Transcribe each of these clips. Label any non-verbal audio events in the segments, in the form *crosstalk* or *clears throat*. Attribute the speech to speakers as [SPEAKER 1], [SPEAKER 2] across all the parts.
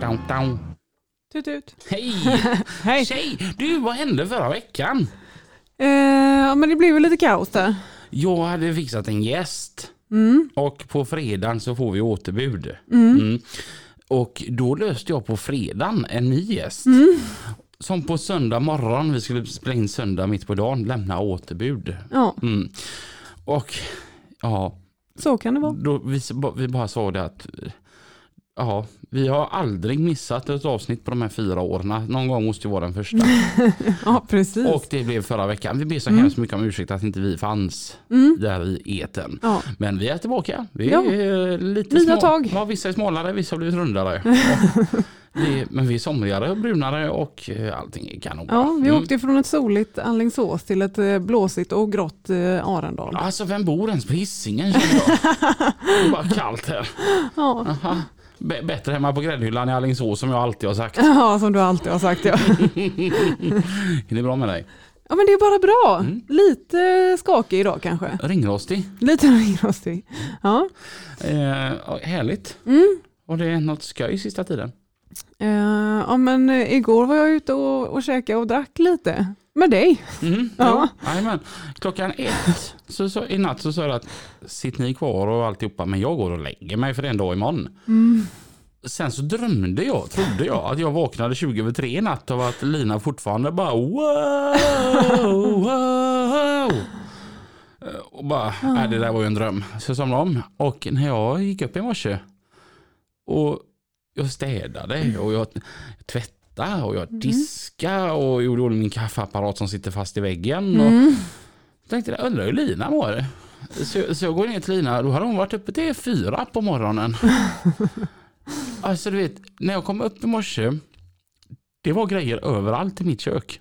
[SPEAKER 1] Down, down.
[SPEAKER 2] Tut Tut.
[SPEAKER 1] Hej!
[SPEAKER 2] Hej!
[SPEAKER 1] Tjej! Du, vad hände förra veckan?
[SPEAKER 2] Eh, ja, men det blev ju lite kaos där.
[SPEAKER 1] Jag hade fixat en gäst
[SPEAKER 2] Mm.
[SPEAKER 1] och på fredagen så får vi återbud.
[SPEAKER 2] Mm.
[SPEAKER 1] Mm. Och då löste jag på fredagen en ny gäst.
[SPEAKER 2] Mm.
[SPEAKER 1] Som på söndag morgon, vi skulle spela in söndag mitt på dagen, lämna återbud.
[SPEAKER 2] Ja,
[SPEAKER 1] Mm. Och ja,
[SPEAKER 2] så kan det vara.
[SPEAKER 1] då vi, vi bara sa det att ja, vi har aldrig missat ett avsnitt på de här fyra åren. Någon gång måste ju vara den första.
[SPEAKER 2] Ja, precis.
[SPEAKER 1] Och det blev förra veckan. Vi ber så hemskt mycket om ursäkt att inte vi fanns
[SPEAKER 2] Mm.
[SPEAKER 1] där i etern.
[SPEAKER 2] Ja.
[SPEAKER 1] Men vi är tillbaka. Vi är
[SPEAKER 2] Ja.
[SPEAKER 1] eh, lite
[SPEAKER 2] Nya
[SPEAKER 1] små-
[SPEAKER 2] tag.
[SPEAKER 1] Ja, vissa är smalare, vissa har
[SPEAKER 2] *laughs*
[SPEAKER 1] blivit rundare. Och vi, men vi är somrigare och brunare och eh, allting är kanon.
[SPEAKER 2] ja, vi
[SPEAKER 1] Mm.
[SPEAKER 2] åkte från ett soligt Alingsås till ett eh, blåsigt och grått eh, Arendal.
[SPEAKER 1] Alltså vem bor ens på Hisingen känner
[SPEAKER 2] *laughs*
[SPEAKER 1] jag? Det är bara kallt här.
[SPEAKER 2] Ja.
[SPEAKER 1] Aha. B- bättre hemma på gräddhyllan i Alingsås som jag alltid
[SPEAKER 2] *laughs*
[SPEAKER 1] har sagt.
[SPEAKER 2] ja, som du alltid har sagt. Ja.
[SPEAKER 1] Är det bra med dig?
[SPEAKER 2] Ja men det är bara bra.
[SPEAKER 1] Mm.
[SPEAKER 2] Lite skakig idag kanske.
[SPEAKER 1] Ringrostig.
[SPEAKER 2] Lite ringrostig. Ja.
[SPEAKER 1] Eh, och härligt.
[SPEAKER 2] Mm.
[SPEAKER 1] Och det är något skoj sista tiden.
[SPEAKER 2] Eh, ja men eh, igår var jag ute och, och käkade och drack lite. Med dig.
[SPEAKER 1] Mm,
[SPEAKER 2] Ja.
[SPEAKER 1] ja. Jajamän. Klockan ett så, så, i natt så sa jag att sitt ni kvar och alltihopa men jag går och lägger mig för det är en dag imorgon. Sen så drömde jag, trodde jag, att jag vaknade 20 över tre i natt av att Lina fortfarande bara wow, wow. Eh, Och bara, nej det där var ju en dröm. Så jag somnade om. Och när jag gick upp i morse och jag städade och jag tvättade och jag diskade och gjorde i ordning min kaffeapparat som sitter fast i väggen.
[SPEAKER 2] Mm.
[SPEAKER 1] Och tänkte jag undrar hur Lina mår. Så, så jag går ner till Lina, då hade hon varit uppe till fyra på morgonen. alltså du vet, när jag kom upp i morse, det var grejer överallt i mitt kök.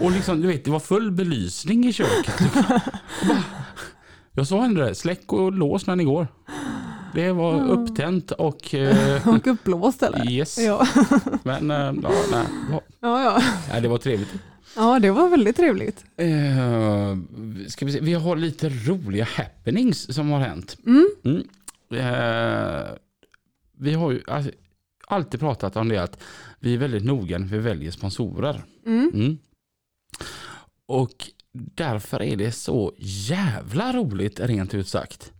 [SPEAKER 1] Och liksom, du vet, det var full belysning i köket. Och bara, jag sa henne det, släck och lås när ni går. Det var upptänt och
[SPEAKER 2] *laughs*
[SPEAKER 1] eh,
[SPEAKER 2] Och uppblåst eller?
[SPEAKER 1] yes.
[SPEAKER 2] Ja.
[SPEAKER 1] Men eh, ja, nej, ja,
[SPEAKER 2] Ja, ja.
[SPEAKER 1] nej, det var trevligt.
[SPEAKER 2] ja det var väldigt trevligt.
[SPEAKER 1] Eh, ska vi, se. vi har lite roliga happenings som har hänt.
[SPEAKER 2] Mm.
[SPEAKER 1] Mm. Eh, vi har ju alltså, alltid pratat om det att vi är väldigt noga när vi väljer sponsorer.
[SPEAKER 2] Mm.
[SPEAKER 1] Mm. Och därför är det så jävla roligt rent ut sagt.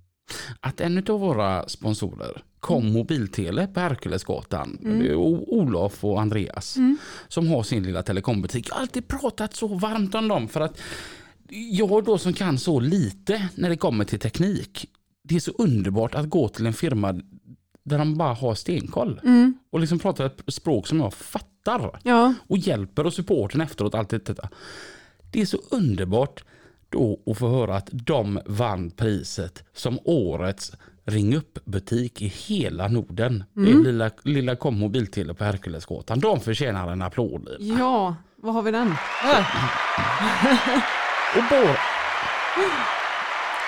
[SPEAKER 1] Att en av våra sponsorer kom Mobiltele på Herkulesgatan.
[SPEAKER 2] Mm.
[SPEAKER 1] Det är O- Olof och Andreas
[SPEAKER 2] Mm.
[SPEAKER 1] som har sin lilla telekombutik. Jag har alltid pratat så varmt om dem för att jag då som kan så lite när det kommer till teknik. Det är så underbart att gå till en firma där de bara har stenkoll
[SPEAKER 2] Mm.
[SPEAKER 1] och liksom pratar ett språk som jag fattar
[SPEAKER 2] Ja.
[SPEAKER 1] och hjälper och supporten efteråt. Allt detta. Det är så underbart då att få höra att de vann priset som årets ring upp-butik i hela Norden. Det är lilla, lilla kom mobiltele på Herkulesgatan. De förtjänar en applåd. Lina.
[SPEAKER 2] ja, vad har vi den? Där.
[SPEAKER 1] Och, bara... *gasps*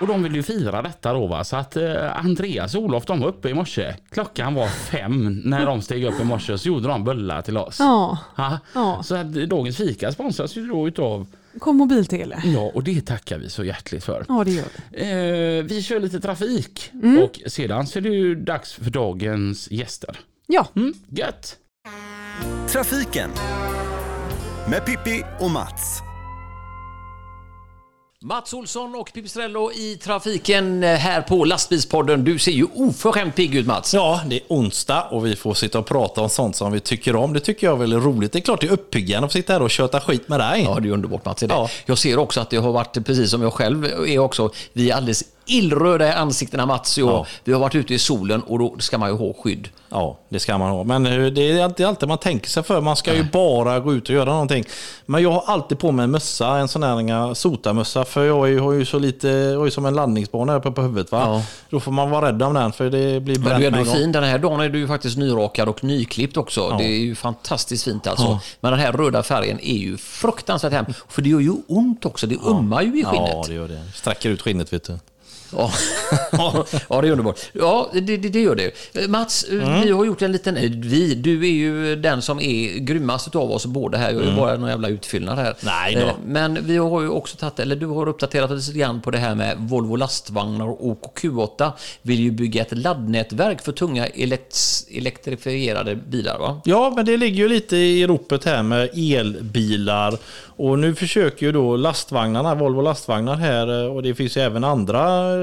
[SPEAKER 1] och de vill ju fira detta då va. Så att eh, Andreas och Olof de var uppe i morse. Klockan var fem när de steg upp i morse så gjorde de bullar till oss.
[SPEAKER 2] Ja,
[SPEAKER 1] Ha?
[SPEAKER 2] ja.
[SPEAKER 1] Så att dagens fika sponsras ju då utav,
[SPEAKER 2] kom mobiltele.
[SPEAKER 1] ja och det tackar vi så hjärtligt för.
[SPEAKER 2] Ja Mm. det gör vi.
[SPEAKER 1] Eh, vi kör lite trafik och sedan så är det ju dags för dagens gäster.
[SPEAKER 2] Ja,
[SPEAKER 1] Mm, gött!
[SPEAKER 3] Trafiken med Pippi och Mats.
[SPEAKER 4] Mats Olsson och Pipistrello i trafiken eh, här på Lastbilspodden. Du ser ju oförskämt pigg ut Mats.
[SPEAKER 5] Ja, det är onsdag och vi får sitta och prata om sånt som vi tycker om. Det tycker jag är väldigt roligt. Det är klart det är uppiggande att få sitta här och köta skit med dig.
[SPEAKER 4] Ja, det är underbart Mats. Det är det.
[SPEAKER 5] Ja.
[SPEAKER 4] Jag ser också att det har varit, precis som jag själv är också, vi är alldeles illröda i ansiktena Mats och jag.
[SPEAKER 5] Ja.
[SPEAKER 4] Vi har varit ute i solen och då ska man ju ha skydd.
[SPEAKER 5] Ja, det ska man ha. Men eh, det är alltid, alltid man tänker sig för. Man ska ju bara gå ut och göra någonting. Men jag har alltid på mig en mössa, en sån här sotamössa. För jag har ju- har ju så lite, jag har ju som en landningsbana uppe på huvudet. Va?
[SPEAKER 4] Ja.
[SPEAKER 5] Då får man vara rädd om den för det blir
[SPEAKER 4] Men
[SPEAKER 5] bränt
[SPEAKER 4] du är
[SPEAKER 5] med en
[SPEAKER 4] ändå
[SPEAKER 5] gång.
[SPEAKER 4] fin. Den här dagen är du ju faktiskt nyrakad och nyklippt också. Det är ju fantastiskt fint alltså. Men den här röda färgen är ju fruktansvärt hem. För det gör ju ont också. Det ummar ju i
[SPEAKER 5] Ja,
[SPEAKER 4] skinnet.
[SPEAKER 5] det gör det. Sträcker ut skinnet vet du.
[SPEAKER 4] Ja, *laughs* ja det är underbart. Ja, det, det, det gör det. Eh, Mats, eh, vi har gjort en liten... eh, Vi, du är ju den som är grymmast utav oss båda här. Jag är ju bara någon jävla utfyllnad här.
[SPEAKER 5] Nej då.
[SPEAKER 4] Eh, Men vi har ju också tagit, eller du har uppdaterat oss lite grann på det här med Volvo lastvagnar och Q8 vill ju bygga ett laddnätverk för tunga elekt- elektrifierade bilar. Va?
[SPEAKER 5] Ja, men det ligger ju lite i ropet här med elbilar. Och nu försöker ju då lastvagnarna, Volvo lastvagnar här eh, och det finns ju även andra eh,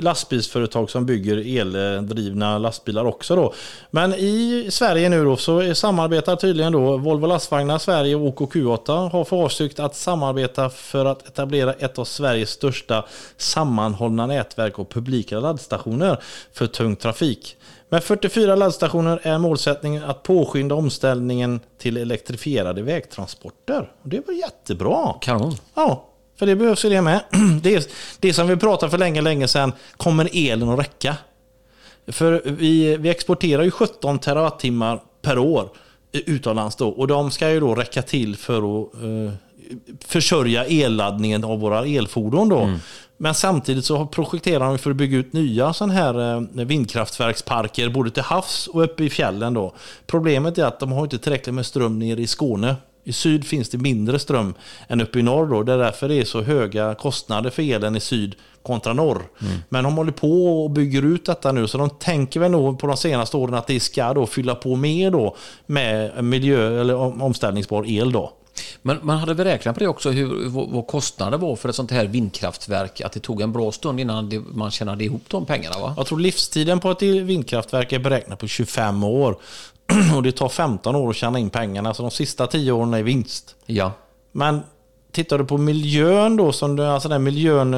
[SPEAKER 5] lastbilsföretag som bygger eldrivna lastbilar också då. Men i Sverige nu då så är- samarbetar tydligen då Volvo Lastvagnar Sverige och OKQ8 har för avsikt att samarbeta för att etablera ett av Sveriges största sammanhållna nätverk och publika laddstationer för tung trafik. Med 44 laddstationer är målsättningen att påskynda omställningen till elektrifierade vägtransporter. Och Det var jättebra.
[SPEAKER 4] Kanon.
[SPEAKER 5] Ja, för det behövs ju det med. *clears throat* Det, är, det som vi pratade för länge, länge sedan, kommer elen att räcka? För vi, vi exporterar ju 17 terawattimmar per år eh, utomlands då, och de ska ju då räcka till för att eh, försörja elladdningen av våra elfordon. Då. Men samtidigt så projekterar de för att bygga ut nya sån här eh, vindkraftverksparker både till havs och uppe i fjällen. Då. Problemet är att de har inte tillräckligt med ström nere i Skåne. I syd finns det mindre ström än uppe i norr. Då. Det är därför det är så höga kostnader för elen i syd kontra norr. Men de håller på och bygger ut detta nu, så de tänker väl nog på de senaste åren att det ska då fylla på mer då med miljö eller om- omställningsbar el. Då.
[SPEAKER 4] Men man hade beräknat på det också, hur, vad, vad kostnaden var för ett sånt här vindkraftverk. Att det tog en bra stund innan det, man tjänade ihop de pengarna. Va?
[SPEAKER 5] Jag tror livstiden på ett vindkraftverk är beräknad på 25 år. *clears throat* Och det tar 15 år att tjäna in pengarna, så de sista 10 åren är vinst.
[SPEAKER 4] Ja.
[SPEAKER 5] Men tittar du på miljön då, som du, alltså den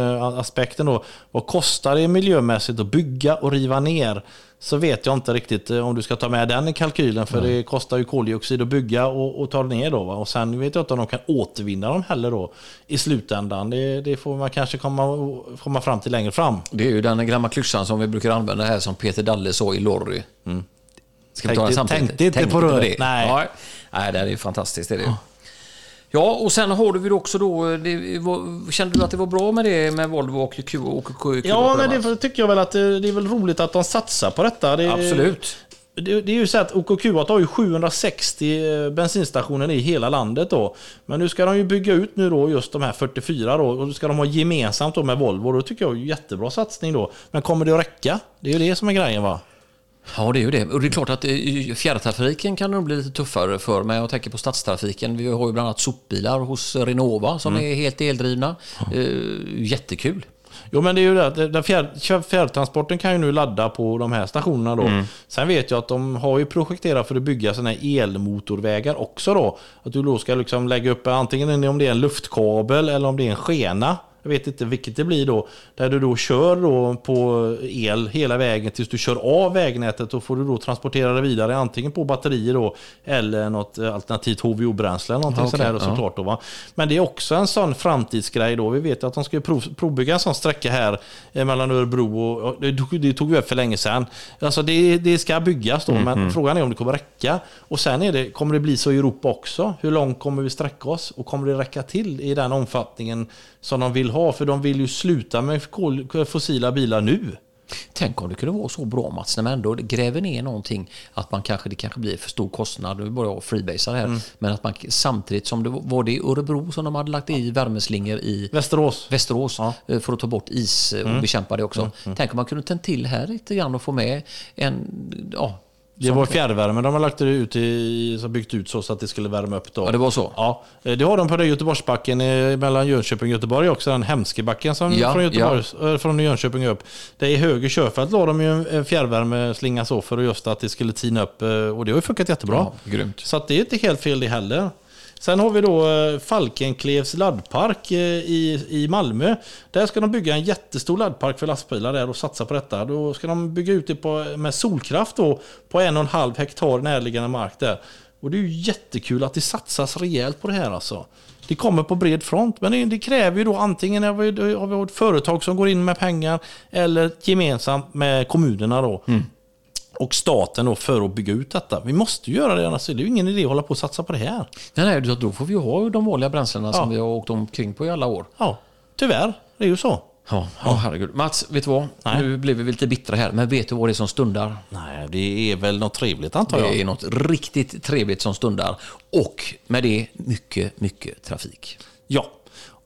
[SPEAKER 5] miljöaspekten då. Vad kostar det miljömässigt att bygga och riva ner? Så vet jag inte riktigt eh, om du ska ta med den i kalkylen för det kostar ju koldioxid att bygga och, och ta ner då. Va? Och sen vet jag inte om de kan återvinna dem heller då i slutändan. Det, det får man kanske komma, komma fram till längre fram.
[SPEAKER 4] Det är ju den gamla klyschan som vi brukar använda här som Peter Dalle sa i Lorry. Mm. Ska vi
[SPEAKER 5] Tänk
[SPEAKER 4] ta den
[SPEAKER 5] inte-
[SPEAKER 4] samtidigt?
[SPEAKER 5] tänk inte på röret.
[SPEAKER 4] det.
[SPEAKER 5] Nej.
[SPEAKER 4] Nej. Nej, det är ju fantastiskt. Det är det. ju. Ja, och sen har du väl också då... Det, var, kände du att det var bra med det med Volvo och Q och Q?
[SPEAKER 5] Ja, men det tycker jag väl att det, det är väl roligt att de satsar på detta. Det,
[SPEAKER 4] Absolut.
[SPEAKER 5] Det, det är ju så att OKQ8 har ju 760 bensinstationer i hela landet då. Men nu ska de ju bygga ut nu då just de här 44 då och då ska de ha gemensamt då med Volvo. Då tycker jag är en jättebra satsning då. Men kommer det att räcka? Det är ju det som är grejen va?
[SPEAKER 4] Ja, det är ju det. Och det är klart att eh, fjärrtrafiken kan nog bli lite tuffare för mig. Jag tänker på stadstrafiken. Vi har ju bland annat sopbilar hos Renova som
[SPEAKER 5] Mm.
[SPEAKER 4] är helt eldrivna. Eh, Jättekul.
[SPEAKER 5] Jo men det är ju det, att den fjär, fjärrtransporten kan ju nu ladda på de här stationerna då.
[SPEAKER 4] Mm.
[SPEAKER 5] Sen vet jag att de har ju projekterat för att bygga sådana här elmotorvägar också då. Att du då ska liksom lägga upp antingen om det är en luftkabel eller om det är en skena. Jag vet inte vilket det blir då. Där du då kör då på el hela vägen tills du kör av vägnätet. och får du då transportera det vidare antingen på batterier då eller något eh, alternativt HVO-bränsle eller någonting
[SPEAKER 4] Ja, okej,
[SPEAKER 5] sådär då,
[SPEAKER 4] ja.
[SPEAKER 5] såklart klart. Då, va? Men det är också en sån framtidsgrej. Då. Vi vet ju att de ska ju prov, provbygga en sån sträcka här eh, mellan Örebro och... och det, tog- det tog vi upp för länge sedan. Alltså det, det ska byggas då, men frågan är om det kommer räcka. Och sen är det, kommer det bli så i Europa också? Hur långt kommer vi sträcka oss? Och kommer det räcka till i den omfattningen som de vill ha? För de vill ju sluta med kol, fossila bilar nu.
[SPEAKER 4] Tänk om det kunde vara så bra Mats, när man ändå gräver ner någonting, att man kanske, det kanske blir för stor kostnad, nu börjar jag freebasea här, men att man samtidigt som det var- var det i Örebro som de hade lagt i värmeslingor i
[SPEAKER 5] Västerås.
[SPEAKER 4] Västerås eh, för att ta bort is eh, och bekämpa det också. Tänk om man kunde tänka till här lite grann och få med en, ja,
[SPEAKER 5] Det var fjärrvärme de har lagt det ut i, så byggt ut så så att det skulle värma upp. Då.
[SPEAKER 4] Ja, det var så.
[SPEAKER 5] Ja, Eh, det har de på den Göteborgsbacken eh, mellan Jönköping och Göteborg också. Den hemskebacken som
[SPEAKER 4] Ja,
[SPEAKER 5] från, Göteborg, eh, från Jönköping upp. Det är i höger körfält la de ju en- en fjärrvärmeslinga så för just att det skulle tina upp. eh, Och det har ju funkat jättebra.
[SPEAKER 4] Ja, grymt.
[SPEAKER 5] Så att det är inte helt fel det heller. Sen har vi då eh, Falkenklevs laddpark eh, i, i Malmö. Där ska de bygga en jättestor laddpark för lastbilar där och satsa på detta. Då ska de bygga ut det på, med solkraft då, på en och en halv hektar närliggande mark där. Och det är ju jättekul att det satsas rejält på det här alltså. Det kommer på bred front, men det, det kräver ju då antingen har vi, har vi ett företag som går in med pengar eller gemensamt med kommunerna då och staten då för att bygga ut detta. Vi måste ju göra det, annars är det ju ingen idé att hålla på och satsa på det här.
[SPEAKER 4] Nej, nej, då- då får vi ju ha de vanliga bränslena som vi har åkt omkring på i alla år.
[SPEAKER 5] Ja, tyvärr. Det är ju så.
[SPEAKER 4] Ja, ja herregud. Mats, vet du vad?
[SPEAKER 5] Nej.
[SPEAKER 4] Nu blev vi lite bittra här, men vet du vad det är som stundar?
[SPEAKER 5] Nej, det är väl något trevligt antar jag.
[SPEAKER 4] Det är något riktigt trevligt som stundar. Och med det, mycket, mycket trafik.
[SPEAKER 5] Ja,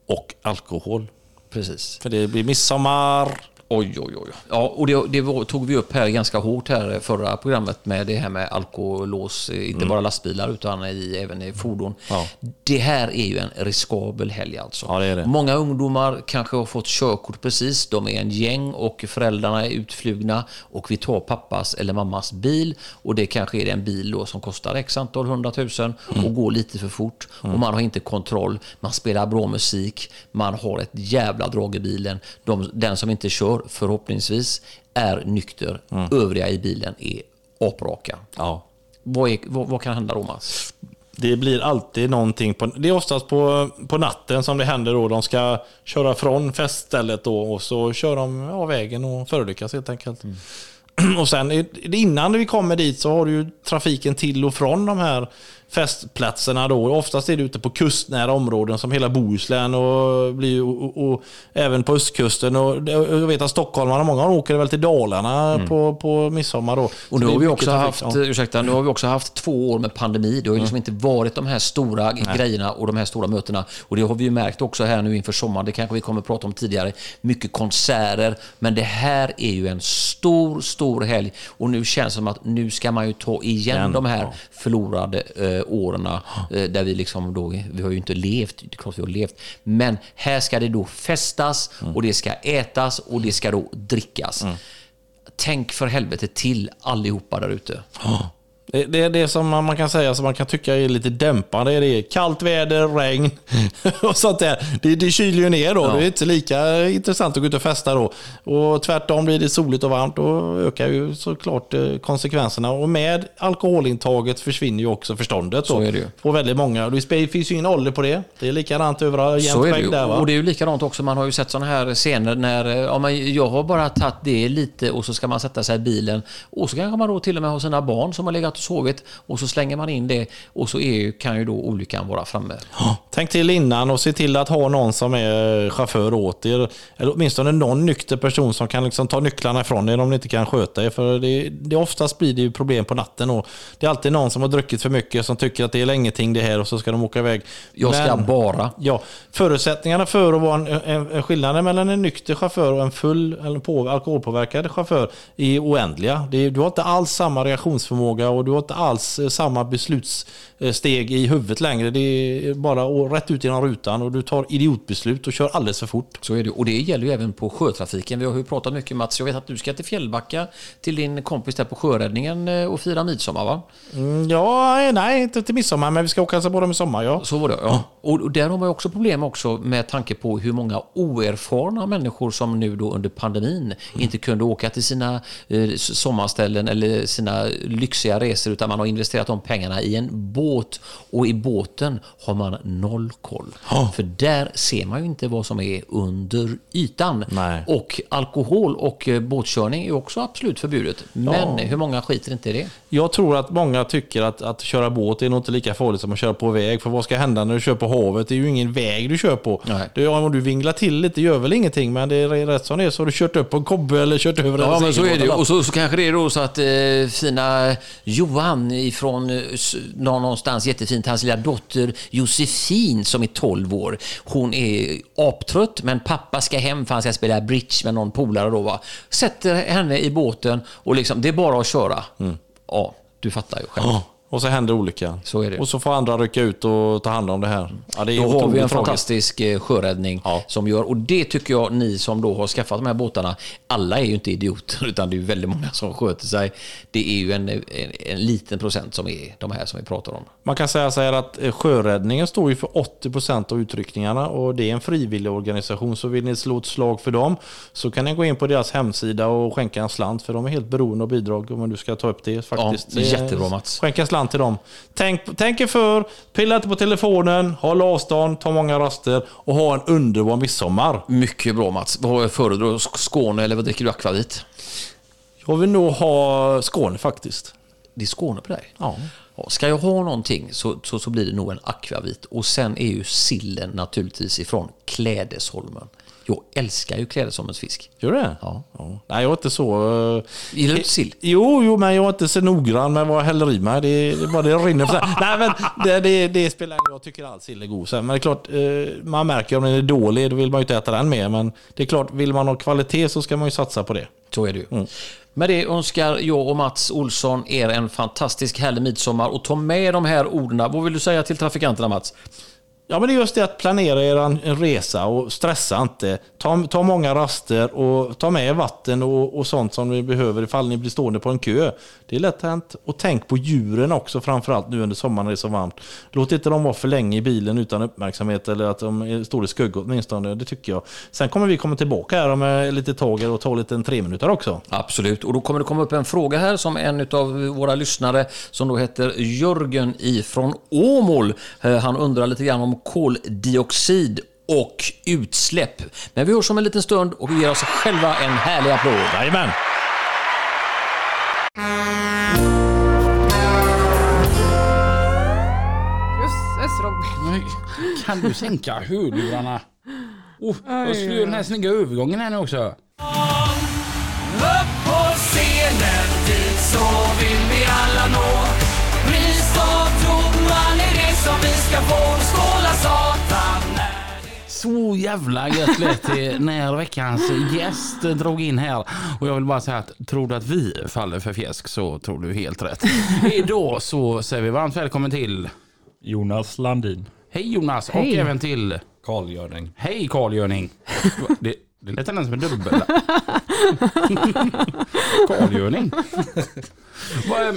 [SPEAKER 5] och alkohol.
[SPEAKER 4] Precis.
[SPEAKER 5] För det blir midsommar.
[SPEAKER 4] Oj, oj, oj. Ja, och det, det var, tog vi upp här ganska hårt här förra programmet med det här med alkolås, eh, inte bara lastbilar utan i, även i fordon.
[SPEAKER 5] Mm. Ja.
[SPEAKER 4] Det här är ju en riskabel helg alltså.
[SPEAKER 5] Ja, det är det.
[SPEAKER 4] Många ungdomar kanske har fått körkort precis, de är en gäng och föräldrarna är utflugna och vi tar pappas eller mammas bil och det kanske är en bil då som kostar x antal hundratusen och går lite för fort och man har inte kontroll, man spelar bra musik, man har ett jävla drag i bilen. De, den som inte kör, förhoppningsvis, är nykter. Övriga i bilen är apraka.
[SPEAKER 5] Ja.
[SPEAKER 4] Vad, är, vad, vad kan hända då Mats?
[SPEAKER 5] Det blir alltid någonting. På, det är oftast på, på natten som det händer då. De ska köra från feststället då och så kör de av vägen och förolyckas helt enkelt.
[SPEAKER 4] Mm.
[SPEAKER 5] Och sen är- innan vi kommer dit så har du ju trafiken till och från de här festplatserna då. Oftast är det ute på kustnära områden som hela Bohuslän och, blir, ju- och, och, och även på östkusten. Och, och jag vet att stockholmarna, många åker väl till Dalarna på, på midsommar då.
[SPEAKER 4] Mm.
[SPEAKER 5] Så
[SPEAKER 4] Och nu
[SPEAKER 5] det är
[SPEAKER 4] har, vi
[SPEAKER 5] mycket
[SPEAKER 4] också
[SPEAKER 5] trafik,
[SPEAKER 4] haft,
[SPEAKER 5] ja. Mm.
[SPEAKER 4] ursäkta, nu har vi också haft två år med pandemi. Det har ju liksom inte varit de här stora grejerna och de här stora mötena. Och det har vi ju märkt också här nu inför sommaren. Det kanske vi kommer att prata om tidigare. Mycket konserter. Men det här är ju en stor, stor helg. Och nu känns det som att nu ska man ju ta igen de här förlorade eh, åren. Eh, där vi liksom då, vi har ju inte levt, det är klart vi har levt. Men här ska det då festas
[SPEAKER 5] Mm.
[SPEAKER 4] och det ska ätas och det ska då drickas. Tänk för helvete till allihopa där ute.
[SPEAKER 5] Det, det är det som man man kan säga som man kan tycka är lite dämpande. Det är kallt väder, regn *laughs* och sånt där. Det, det kyler ju ner då. Det är inte lika intressant att gå ut och festa då. Och tvärtom blir det soligt och varmt och ökar ju såklart eh, konsekvenserna. Och med alkoholintaget försvinner ju också förståndet.
[SPEAKER 4] Så
[SPEAKER 5] då.
[SPEAKER 4] är det ju.
[SPEAKER 5] På väldigt många. Det spe- finns ju ingen ålder på det. Det är likadant överallt.
[SPEAKER 4] Så
[SPEAKER 5] Jämnt
[SPEAKER 4] är det
[SPEAKER 5] skägg
[SPEAKER 4] ju.
[SPEAKER 5] där va?
[SPEAKER 4] Och det är ju likadant också. Man har ju sett sådana här scener när eh, ja, men jag har bara tagit det lite och så ska man sätta sig i bilen. Och så kanske man då till och med har sina barn som har legat och sovit och så slänger man in det och så är, ju- kan ju då olyckan vara framme.
[SPEAKER 5] Tänk till innan och se till att ha någon som är eh, chaufför åt er. Eller åtminstone någon nykter person som kan liksom ta nycklarna ifrån er om ni inte kan sköta er. För det, det oftast blir det ju problem på natten. Och det är alltid någon som har druckit för mycket som tycker att det är ingenting det här och så ska de åka iväg.
[SPEAKER 4] Jag ska
[SPEAKER 5] Men-
[SPEAKER 4] bara.
[SPEAKER 5] Ja, förutsättningarna för att vara en, en, en skillnaden mellan en nykter chaufför och en full eller på, alkoholpåverkad chaufför är oändliga. Det är, du har inte alls samma reaktionsförmåga och du har inte alls eh, samma beslutssteg i huvudet längre. Det är bara å- rätt ut genom rutan och du tar idiotbeslut och kör alldeles för fort.
[SPEAKER 4] Så är det. Och det gäller ju även på sjötrafiken. Vi har ju pratat mycket Mats. Jag vet att du ska till Fjällbacka till din kompis där på sjöräddningen eh, och fira midsommar va?
[SPEAKER 5] Mm, ja, nej, inte till midsommar, men vi ska åka och hälsa på dem i sommar. Ja.
[SPEAKER 4] Så var det, ja. Och och där har man ju också problem också med tanke på hur många oerfarna människor som nu då under pandemin
[SPEAKER 5] Mm.
[SPEAKER 4] inte kunde åka till sina eh, s- sommarställen eller sina lyxiga resor utan man har investerat de pengarna i en båt och i båten har man noll koll. För där ser man ju inte vad som är under ytan.
[SPEAKER 5] Nej.
[SPEAKER 4] Och alkohol och eh, båtkörning är ju också absolut förbjudet. Men hur många skiter inte i det?
[SPEAKER 5] Jag tror att många tycker att, att köra båt är nog inte lika farligt som att köra på väg. För vad ska hända när du kör på havet? Det är ju ingen väg du kör på.
[SPEAKER 4] Nej.
[SPEAKER 5] Du, om du vinglar till lite gör väl ingenting, men det är rätt som det är så har du kört upp på en kobbe eller kört över en
[SPEAKER 4] Ja, men så är det ju.
[SPEAKER 5] segelbåt.
[SPEAKER 4] Och så, så kanske det är då så att eh, fina Johan ifrån eh, s- nå- någonstans jättefint, hans lilla dotter Josefin som är 12 år. Hon är aptrött, men pappa ska hem för han ska spela bridge med någon polare då. Va? Sätter henne i båten och liksom, det är bara att köra. Ja, du fattar ju själv.
[SPEAKER 5] Ja, Och så händer olyckan.
[SPEAKER 4] Så är det.
[SPEAKER 5] Och så får andra rycka ut och ta hand om det här. Ja, det
[SPEAKER 4] Då
[SPEAKER 5] är
[SPEAKER 4] har vi en
[SPEAKER 5] otroligt tragiskt.
[SPEAKER 4] fantastisk eh, sjöräddning
[SPEAKER 5] Ja.
[SPEAKER 4] som gör, och det tycker jag ni som då har skaffat de här båtarna, alla är ju inte idioter *laughs* utan det är ju väldigt många som sköter sig. Det är ju en, en, en liten procent som är de här som vi pratar om.
[SPEAKER 5] Man kan säga så här att eh, sjöräddningen står ju för 80% av utryckningarna och det är en frivillig organisation så vill ni slå ett slag för dem så kan ni gå in på deras hemsida och skänka en slant för de är helt beroende av bidrag om du ska ta upp det faktiskt. Eh,
[SPEAKER 4] det är jättebra, Mats.
[SPEAKER 5] Skänka en slant till dem. Tänk, tänk er för, pilla inte på telefonen, håll avstånd, ta många raster och ha en underbar midsommar.
[SPEAKER 4] Mycket bra Mats. Vad föredrar du? Skåne eller vad dricker du? Akvavit?
[SPEAKER 5] Jag vill nog ha Skåne faktiskt.
[SPEAKER 4] Det är Skåne på dig?
[SPEAKER 5] Ja.
[SPEAKER 4] Ja, Ska jag ha någonting så, så, så blir det nog en akvavit. Och sen är ju sillen naturligtvis ifrån Klädesholmen. Jag älskar ju Klädesholmens fisk.
[SPEAKER 5] Gör du det?
[SPEAKER 4] Ja.
[SPEAKER 5] Nej, jag är inte så... eh,
[SPEAKER 4] Gillar du inte sill?
[SPEAKER 5] Jo, jo, men jag är inte så noggrann med vad jag häller i mig. Det, det, bara det rinner. för sig. Nej, men det, det, det spelar ingen roll. Jag tycker all sill är god. Sen, Men det är klart, eh, man märker om den är dålig, då vill man ju inte äta den mer. Men det är klart, vill man ha kvalitet så ska man ju satsa på det.
[SPEAKER 4] Så är det ju. Med det önskar jag och Mats Olsson er en fantastisk härlig midsommar och ta med de här orden. Vad vill du säga till trafikanterna Mats?
[SPEAKER 5] Ja, men det är just det att planera er resa och stressa inte. Ta, ta många raster och ta med er vatten och, och sånt som ni behöver ifall ni blir stående på en kö. Det är lätt hänt. Och tänk på djuren också, framförallt nu under sommaren när det är så varmt. Låt inte dem vara för länge i bilen utan uppmärksamhet eller att de är- står i skugga åtminstone. Det tycker jag. Sen kommer vi komma tillbaka här om eh, lite tag och ta lite en tre minuter också.
[SPEAKER 4] Absolut, och då kommer det komma upp en fråga här som en av våra lyssnare som då heter Jörgen ifrån Åmål. Eh, Han undrar lite grann om koldioxid och utsläpp. Men vi hörs om en liten stund och ger oss själva en härlig applåd.
[SPEAKER 5] Jajamän!
[SPEAKER 2] Jösses Robin.
[SPEAKER 1] Nej, Kan du sänka hörlurarna? Oh,
[SPEAKER 2] Aj,
[SPEAKER 1] jag skulle göra den här snygga övergången här nu också.
[SPEAKER 6] Upp på scenen, dit så vill vi alla nå. Pris och trotman är det som vi ska få. Skåla satan när det
[SPEAKER 1] Så jävla gött lät det när veckans gäst drog in här. Och jag vill bara säga att tror du att vi faller för fjäsk så tror du helt rätt. Idag så säger vi varmt välkommen till
[SPEAKER 7] Jonas Landin.
[SPEAKER 1] Hej Jonas och
[SPEAKER 2] Hej.
[SPEAKER 1] även till
[SPEAKER 7] Carl Göring.
[SPEAKER 1] Hej Carl Görning. Det, det lät nästan som en dubbel. *laughs* Carl Görning. Vad, ehm,